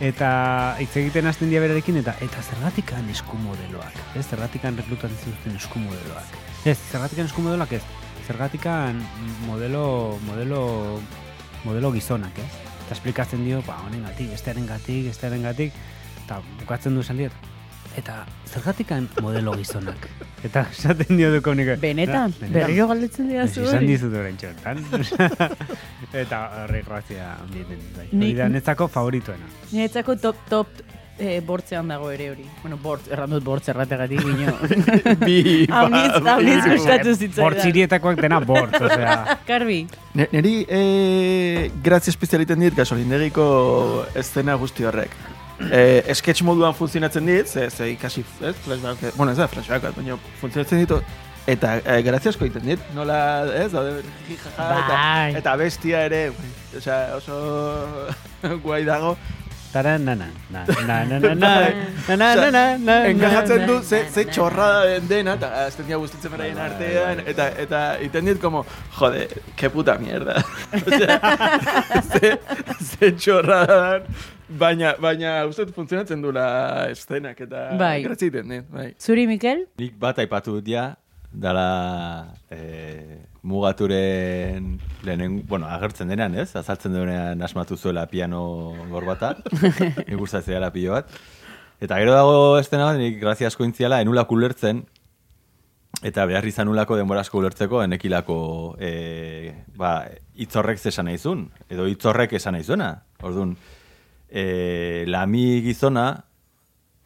eta hitz egiten hasten dia berarekin, eta eta zergatikan esku modeloak, ez? Zergatikan reklutatzen zuten esku modeloak. Ez, zergatikan esku modeloak ez, zergatikan modelo, modelo, modelo gizonak, ez? Eta esplikatzen dio, ba, honengatik, bestearengatik, bestearengatik, eta bukatzen du esaldiet. Eta zergatikan modelo gizonak. Eta esaten dio dukonik. ba,
benetan, berriro galdetzen dira
Ez
zu
izan
hori.
dizut orain txortan. Eta horri grazia handieten. Bai.
Ni-
Hori da netzako favorituena.
Niretzako top, top eh, bortzean dago ere hori. Bueno, bortz, erran dut bortz errategatik, bino.
Bi, ba,
Hauniz, hauniz gustatu zitzaidan. Ah,
Bortzirietakoak dena bortz, osea.
Karbi,
Ne- Neri e, grazia espezialiten dit gasolindegiko estena guzti horrek. E, sketch moduan funtzionatzen dit, ze, ze ikasi, ez, flashback, e, bueno, ez da flashback, bat, baina funtzionatzen ditu, eta e, grazia asko egiten dit, nola, ez, daude, jijaja,
Bai.
eta, eta bestia ere, osea, oso guai dago,
Taran, na, na, na, na, na, na, na, na, na, na, na,
enkajatzen
na.
du, ze, ze txorrada den dena, eta azten dira guztitzen beraien artean, eta, eta iten dit como, jode, que puta mierda. Osea, ze, ze txorrada den, baina, baina, uste dut funtzionatzen dula eszenak, eta
Bai.
grazia iten dit, bai.
zuri Mikel?
Nik bat aipatu dut ja, dala e, mugaturen lehenen, bueno, agertzen denean, ez? Azaltzen denean asmatu zuela piano gorbata, nik gustatzen dela pilo bat. Eta gero dago estena bat, nik grazia asko intziala, enulak ulertzen, eta behar izan ulako denbora asko ulertzeko, enekilako e, ba, itzorrek zesan naizun, edo itzorrek esan naizuna. Orduan, e, lami gizona,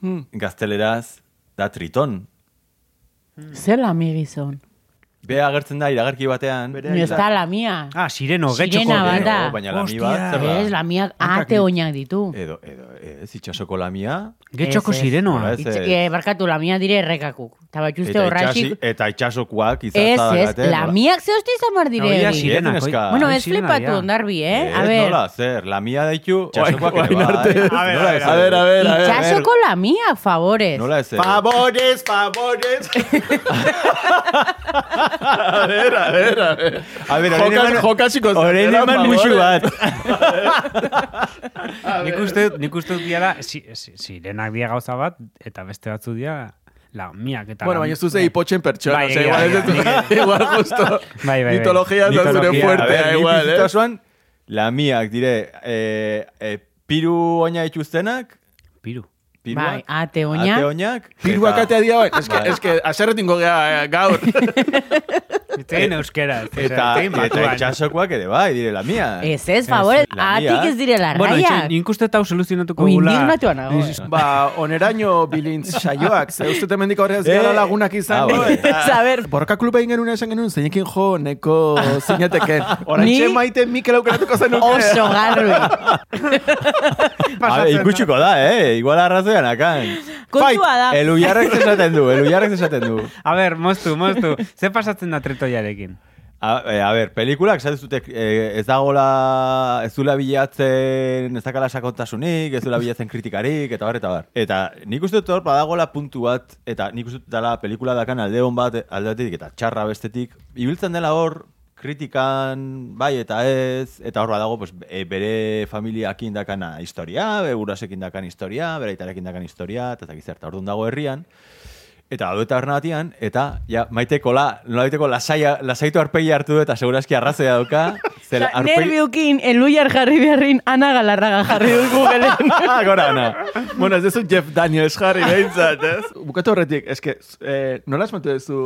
Hmm.
gazteleraz, da triton, Mm.
zela mi gizon.
Be agertzen da iragarki batean.
Bere-
No está la mía.
Ah, sireno, getxoko.
Sirena bat da.
Edo, oh, baina lami bat,
Hostia,
zer da? Ah, Eh,
Ez, la mía ate oinak ditu.
Edo, edo, ez, itxasoko lamia.
Getxoko
Ez, ez.
sirenoa.
Ora,
Itx,
ez.
eh, barkatu, la mía dire errekakuk. Eta bat uste horraxik...
itxasi- eta eh, itxasokoak
Ez,
izazta
ez, la miak zehozte izan behar dire
Hori da
hori.
sirena,
Ez, neska.
koi.
Bueno,
Hori
ez
sirena
flipatu
dira.
ondarbi, eh? A ver,
Nola, zer, lamia daitu, itxasokoak
Oain-
ere
oain arte.
bai.
A ver,
Nola
a ver,
ez,
a ver,
a ver,
itxasoko la mía, favores.
Nola ez, eh?
Favores, favores. a ver, a ver, a ver.
A ver, orain
Jokas,
eman-
jokasiko zen.
Orain
Era,
eman
favores.
musu bat.
Nik uste dut, nik uste dut diala, si- si- sirenak dia gauza bat, eta beste batzu dia, la miak eta...
Bueno, baina ez duzu hipotxen pertsona,
Bai,
osea,
egia,
igual ez
egia,
duzu, igual justo
Bai, bai, bai.
mitologia da zure
Mitologia,
A ver,
fuertea,
nik
igual, eh?
bizitasuan, lamiak dire, eh, eh, piru oina ituztenak,
Piru.
piruak,
Bai, ate oinak.
ate oinak,
Piruak
eta-
atea dira, bai. Eske,
Bai.
eske, aserretingo gea eh, gaur.
Itzein euskera.
Eta, eta itxasokoak ere bai, direla mia.
Ez ez, favore,
Ez, la mia.
atik ez direla
Bueno,
raiak.
itxain, nik uste eta hau soluzionatuko
Ui,
gula.
indignatua nago, eh.
Ba, oneraino bilintz saioak, ze uste temendik aurreaz gara
Eh,
lagunak izan.
ah, bueno.
Saber,
Borroka kluba egin genuen esan genuen, zeinekin jo neko zineteken. Horantxe
Ni-
maite Mikel aukeratuko zenuke.
oso garbi.
Habe, ikutsuko da, eh? Igual arrazoian akan.
Kontua da.
Eluiarrek esaten du, eluiarrek esaten du.
A ber, moztu, moztu. Ze pasatzen da tretoiarekin?
A, e, a ber, pelikulak esaten zute eh, ez dagola ez dula bilatzen ez dakala sakontasunik, ez dula bilatzen kritikarik eta bar eta bar. Eta nik uste dut hor badagola puntu bat eta nik uste dut dela pelikula dakan alde on bat aldatik eta txarra bestetik ibiltzen dela hor kritikan bai eta ez eta hor badago pues, e, bere familiakin dakana historia, bere gurasekin dakan historia, bere aitarekin dakan historia eta ez dakit zer. Eta orduan dago herrian Eta daude taberna batean, eta ja, maiteko la, nola baiteko lasaia, lasaitu arpegi hartu du, eta segurazki arrazoia dauka. Zela,
Osa, Nerviukin, eluiar jarri beharrin, ana galarraga jarri dut Googleen.
Gora, ana.
bueno, ez dezu Jeff Daniels jarri behintzat, ez? Bukatu horretik, eske, eh, nola esmatu duzu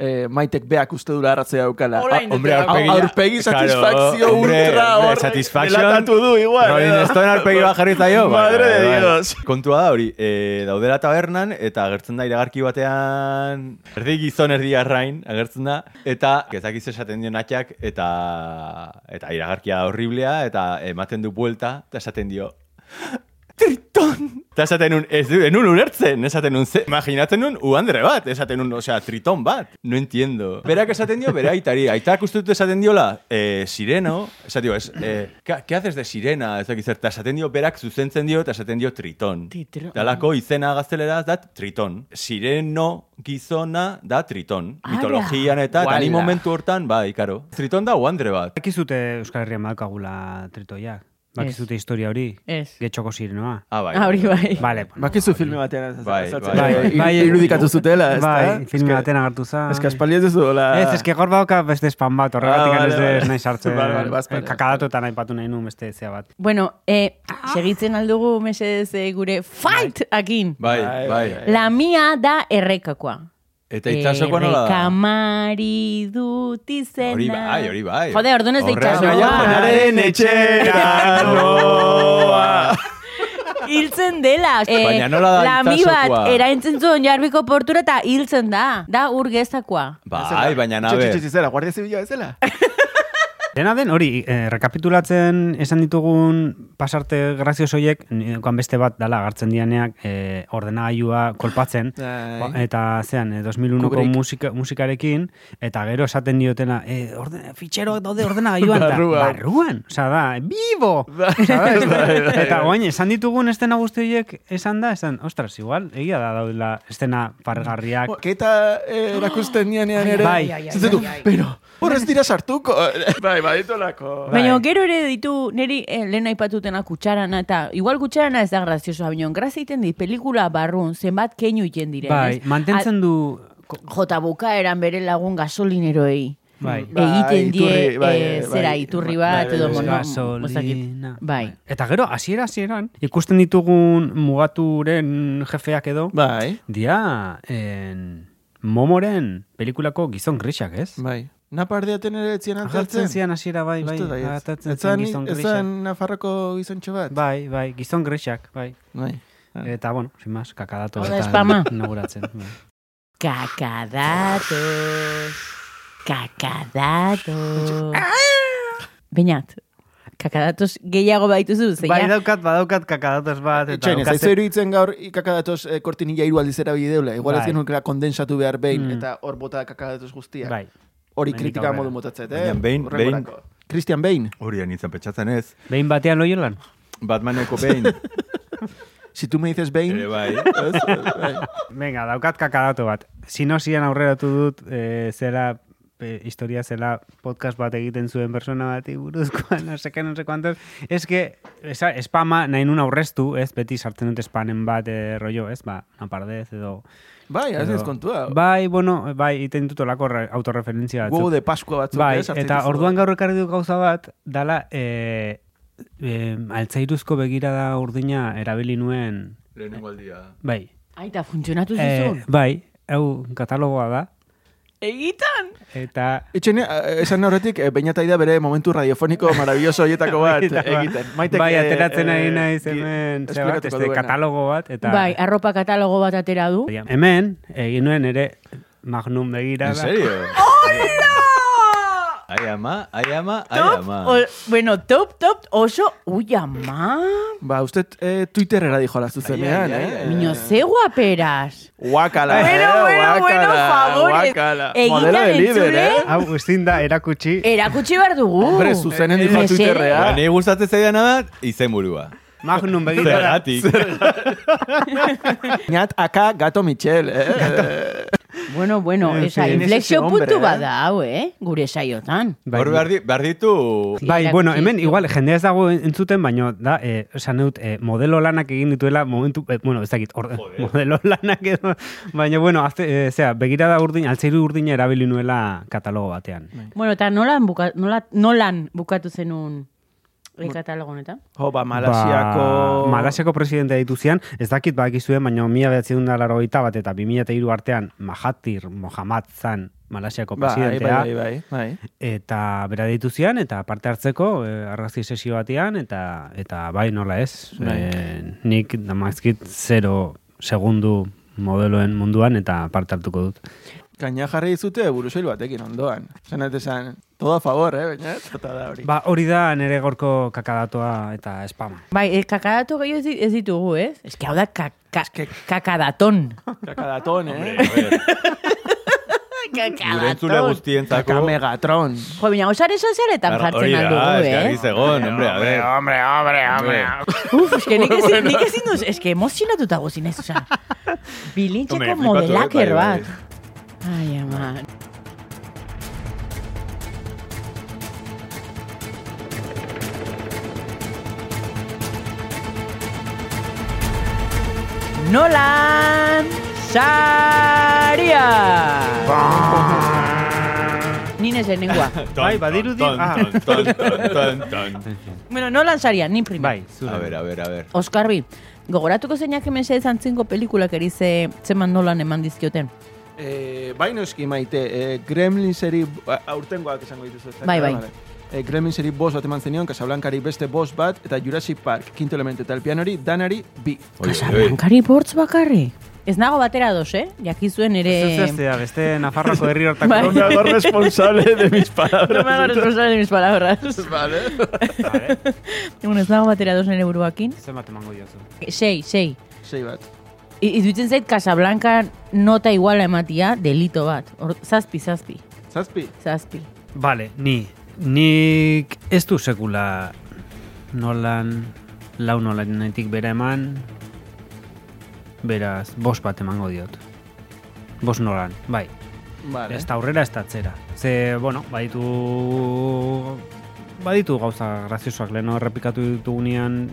eh, maitek beak uste dura arratzea daukala? Ah,
Hola, indetera.
Hombre,
Au-
arpegi...
aurpegi satisfakzio ultra horrek
satisfaction.
delatatu du igual,
Rolling
eh?
Stone arpegi bat jarri zaio.
Madre de
Bai, bai, bai.
Dios.
Kontua da hori, e, daudela tabernan, eta agertzen da iragarki batean, erdi gizon erdi arrain, agertzen da, eta ezakiz esaten dio natxak, eta, eta iragarkia horriblea, eta ematen du buelta, eta esaten dio, Triton! Eta esaten nun, ez du, enun ulertzen, esaten nun, ze, imaginatzen nun, uandre bat, esaten nun, osea, triton bat, no entiendo. Berak esaten dio, bere aitari, aitak uste dut esaten diola, eh, sireno, esaten dio, es, eh, ka- ke haces de sirena, ez dakit zer, eta esaten dio, berak zuzentzen dio, eta esaten dio triton.
Titro-
Dalako izena gazteleraz da triton. Sireno gizona da triton.
Ara.
Mitologian eta, eta ni
Guala.
momentu hortan, bai, karo. Triton da uandre bat.
Bakizute Euskal Herrian badakagula tretoiak? Bakizute historia hori?
Ez.
Getxoko sirenoa?
Ah, bai.
Hori bai.
Vale. bueno.
Bakizu filme batean ez
Bai,
azaltzen,
bai.
eh,
Bai,
irudikatu zutela, ez da?
Bai, filme
Eske-
baten agertu za.
Eske aspaldi ez duzu, hola...
Ez, eske gaur badauka beste spam bat, horregatik
Ah,
ah,
vale,
ez vale,
vale.
nahi sartzen. Eh,
Vale, vale, bazpare.
Kakadatuetan aipatu nahi nuen beste zea bat.
Bueno, eh, segitzen aldugu mesedez eh, gure fight akin.
Bai,
Bai,
bai.
bai.
La mia da errekakoa. Eh,
Eta itxasokoa nola da?
Errekamari dut izena.
Hori bai, hori bai.
Jode, orduan ez da
Horrean
itxasokoa.
nahian jonaren etxera noa.
Hiltzen dela. Eh,
Baina nola da
Lami
itsasokoa?
bat, eraintzen zuen jarbiko portura eta hiltzen da. Da urgezakoa.
Bai, baina
Txo,
nabe.
txo, txo, zera, Guardia Zibila bezala.
Dena den, hori, eh, rekapitulatzen esan ditugun pasarte grazioz horiek, nirekoan beste bat dala gartzen dianeak eh, ordenagailua kolpatzen,
Bai.
ba- eta zean, eh, 2001ko
Kubrick.
musika, musikarekin, eta gero esaten diotena, eh, orden, fitxeroak daude ordenagailuan, da,
Barruan.
barruan, oza da, bibo!
Bai, bai, bai.
eta guain, esan ditugun estena guzti horiek, esan da, esan, ostras, igual, egia da daudela estena pargarriak,
Keta eh, erakusten nianean ere.
Bai.
Zaten du, pero, horrez dira sartuko. Bai, bai, ditolako.
Baina gero ere ditu, niri eh, lehen aipatutena kutsarana, eta igual kutsarana ez da graziosoa, baina grazia iten dit, pelikula barrun, zenbat keinu iten diren.
bai,
ez?
mantentzen du... ko-
A- Jota bukaeran bere lagun gasolineroei.
Bai.
Bai,
egiten die,
iturri, bai,
eh,
bai,
zera,
bai,
iturri bat,
bai,
edo
bai,
mono,
gasolina.
ozakit. Bai.
Eta gero, hasiera hasieran ikusten ditugun mugaturen jefeak edo,
Bai,
dia, en, momoren pelikulako gizon grisak, ez?
bai. Napardeaten ere etzian
Agertzen
antzartzen.
zian hasiera bai, bai,
Uste da, ez.
agertzen zian
Etzan-
gizon
Etzan
grisak.
Nafarroko gizontxo bat.
Bai, bai, gizon grisak, bai.
Bai.
Eta, bueno, sin más, kakadato
Hau da,
eta
spama.
inauguratzen. bai.
Kakadatos. Kakadatos.
Ah!
Beinat, kakadatos gehiago baituzu, zeina?
Bai, daukat, badaukat kakadatos bat. Eta
Etxain, ez
daukat-
zaizu iruditzen gaur ikakadatoz eh, kortinilla hiru aldiz erabili deula. Igual ez
Bai.
genuela kondensatu behar behin,
Mm.
eta hor bota kakadatoz guztiak.
Bai,
Hori
Hemendik
kritika
aurrera.
modu motatzet, eh?
Baina behin-
Horrengorako. Christian Bain,
Hori da nintzen pentsatzen ez.
behin batean loiolan.
Batmaneko behin.
si tu me dices Bain,
Eh,
Ere
ba-
bai.
Venga, daukat kakadato bat. Sinosian aurreratu dut, eh, zera eh, historia zela podcast bat egiten zuen persona bati buruzkoa, no seke, no se cuantos. Es que, esa, espama, nahi nun aurreztu, ez, beti sartzen dut spanen bat eh, rollo, ez, ba, napardez edo...
bai, ez
edo-
ez kontua.
Bai, bueno, bai, iten dut olako re- autorreferentzia batzuk.
Huevo de Pascua batzuk.
Bai,
eh, sartzen
eta
dizu.
orduan gaur ekarri du gauza bat, dala, eh, eh, altzairuzko begirada urdina erabili nuen,
Lehenengo aldia.
bai,
Aita, funtzionatu
Eh,
zizun.
bai, hau katalogoa da.
Egitan?
Eta
Etxene, eh, esan horretik, eh, Beñataida bere momentu radiofoniko maravilloso horietako bat egiten. Maitek,
bai,
eh,
ateratzen ari
eh,
naiz
eh,
hemen, ze bat,
esplikatuko
este,
duena.
katalogo bat, eta...
Bai, arropa katalogo bat atera du.
Bai. Hemen, egin nuen ere magnum begira
¿En serio? Ai ama, ai ama, ai
Top,
ama.
o, bueno, top, top, oso, ui, ama.
Ba, usted eh, Twitterera dijo la zuzenean,
Ai, ai, ai, ai.
eh?
Miño, ze guaperas.
Guakala,
Bueno,
eh?
bueno, bueno,
guakala,
favor.
Guakala.
Egitan
Modelo de líder,
entzule?
eh?
Hau, guztin da, erakutsi,
Erakutsi behar dugu.
Hombre, zuzenen dijo
Mesedez.
Ba,
Twitterrea.
ni gustatzen zaidana da, izenburua.
magnum begira.
Zergatik.
Ñat aka gato Michel, eh?
Bueno, bueno,
En
esa,
fin,
ese
inflexio
hombre,
puntu
eh?
bat da, hau, eh? Gure saiotan.
Bai,
Hor behar di- behar ditu...
Bai,
Erakutsi
bueno, hemen
du.
igual jendea ez dago entzuten, baino da, eh, esan dut, eh, modelo lanak egin dituela momentu, eh, bueno, ez dakit, or, modelo lanak edo, baina bueno, azte, eh, zera, begirada urdin, altzairu urdina erabili nuela katalogo batean.
Bueno, eta nolan, buka, nola, nolan bukatu zenun e, katalogo honetan?
Jo, ba, Malasiako...
Ba, Malasiako presidente ditu zian, ez dakit badakizuen, baina mila behatzen da laro bat eta 2002 artean Mahatir Mohamad zan Malasiako
Bai,
presidentea.
bai, bai, bai.
Eta bera deitu zian, eta parte hartzeko eh, argazki sesio batean, eta eta bai nola ez.
Bai.
Eh, nik damazkit zero segundu modeloen munduan, eta parte hartuko dut.
Kaina jarri dizute burusoil batekin ondoan. Zanet esan, todo a favor, eh, baina ez tota da hori.
Ba, hori da nere gorko kakadatoa eta espama.
Bai, e, kakadatu gehiago ez, di- ez ditugu, ez? Ez que hau da kaka, kakadaton.
Kakadaton, eh?
Gure entzule guztientzako...
Kamegatron.
Jo, baina osare sozialetan
Claro,
jartzen
da,
aldugu,
eske, argi
eh?
zegoen, hombre, a ver. Hombre, hombre, hombre.
Uf, eske nik ezin, nik ezin duz, eske emozionatuta gozinez, oza.
Hombre,
Bilintxeko
flipatu,
modelaker
eh, bai,
bat. Ai, ama. Nolan Saria! Ni nezen nengua.
Bai, badirudi- ah.
bueno, Nolan Saria, ni primero.
Bai, zure.
A ver, a ver, a ver.
Oskar bi, gogoratuko zeinak emesedez antzinko pelikulak eri ze, zeman nolan eman dizkioten.
Eh, bai noski maite, eh, Gremlinseri a- aurtengoak esango dituzu. ez da?
Bai, bai.
Vale. Eh, Gremlinseri bost bat eman zenion, Casablancari beste bost bat, eta Jurassic Park, quinto elemento, eta el pianori, danari, bi.
Oye, oye,
Blankari bortz bakarri. Ez nago batera dos, eh? Jakizuen ere...
Ez da, beste Nafarroko herri hortako
Bai.
Bai.
hago responsable de mis
No me hago responsable de mis palabras.
vale.
Bueno, ez nago batera dos nere buruakin.
Zenbat emango diozu.
Sei, sei.
Sei bat.
I- Iduitzen zait Casablanca nota iguala ematia delito bat. Hor- zazpi, zazpi,
Zazpi.
zazpi.
Vale, ni. Nik ez du sekula nolan, lau nolanetik bera eman, beraz, bost bat emango diot. Bost nolan, bai.
Vale.
Ez da aurrera ez da atzera. Ze, bueno, baditu... Baditu gauza graziosoak, leheno errepikatu ditugunean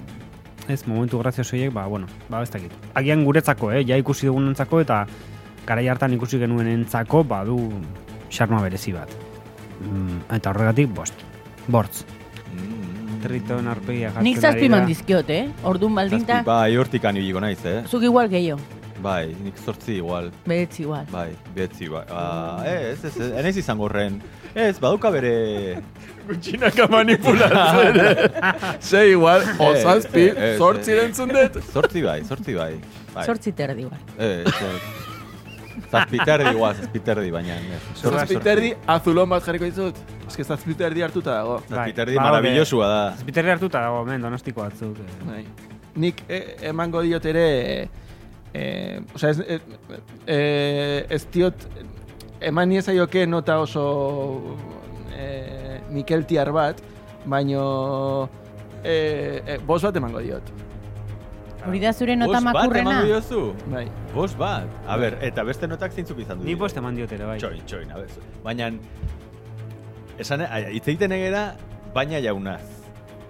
ez momentu graziosoiek, ba, bueno, ba, ez dakit. Agian guretzako, eh, ja ikusi dugun entzako, eta garai hartan ikusi genuen entzako, ba, du xarma berezi bat. Mm, eta horregatik, bost. Bortz.
Mm.
Triton arpegia jartzen
Nik zazpi man dizkiot, eh? Orduan baldinta,
Zazpi, Bai, hortik ibiliko naiz, eh?
zuk igual gehiago.
Bai, nik sortzi igual.
Behetzi igual.
Bai, betzi, bai. Ah, ez, ez, ez, enez izango horren. Ez, baduka bere...
Gutxinaka manipulatzen. Sei igual, o
Ez,
zazpi,
ez, ez,
sortzi
ez.
entzun dut.
Sortzi bai, sortzi bai. bai. Eh,
Zortzi terdi igual.
Ez, ez. Zazpiterdi guaz, zazpiterdi baina. eh. ez. Zorra
Zazpi terdi, azulon bat jarriko dizut. Ez que zazpi terdi hartuta dago.
Zazpiterdi
Bai,
marabillosua da.
Zazpiterri hartuta dago, men, donostiko batzuk. eh.
Bai. Nik eh, emango diot ere... Eh, osea, ez, eh, eh, ez diot... Eman niezaioke nota oso... Eh, Mikel Tiar bat, baino... Eh, eh, bos bat emango diot.
Hori da zure nota
Bost bat
makurrena.
eman diozu?
Bai.
Bost bat. A ber, eta beste notak zeintzuk izan du.
Ni bost eman diotere, bai.
Txoin, txoin, a ber. Baina, esan, ai, hitz egiten egera, baina jaunaz.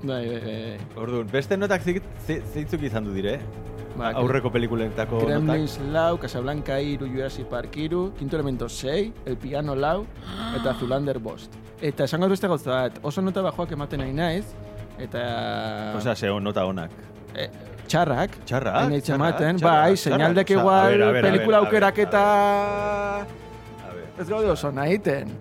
Bai, bai, bai.
Orduan, beste notak zik- ze- zeintzuk izan du dire?
Ba,
Aurreko pelikuletako notak.
Gremlins lau, Casablanca iru, Jurassic Park iru, Quinto Elemento 6, El Piano lau, eta Zulander bost. Eta esango dut beste gauza bat, oso nota bajoak ematen nahi naiz, eta... Ah.
Osa, ze hon nota onak.
eh, txarrak.
Txarrak,
Hain hitz
txarrak,
ematen,
txarrak,
bai,
txarrak,
seinaldek
txarrak. A
igual,
ber, a ber, a ber,
pelikula
a ber,
aukeraketa...
A ber.
Ez gaude oso nahiten.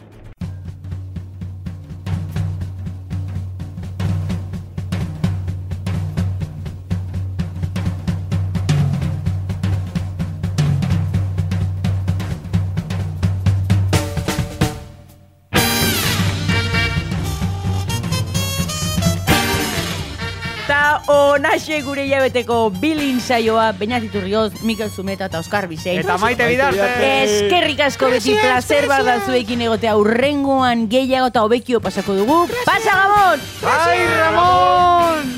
Eta honaxe gure jabeteko bilin saioa, Beñat Iturrioz, Mikel Zumeta eta Oskar Bisei.
Eta maite bidarte!
Eskerrik asko beti placer bat da zuekin egotea urrengoan gehiago eta hobekio pasako dugu. Pasa, Gabon!
Ai, Bai, Ramon!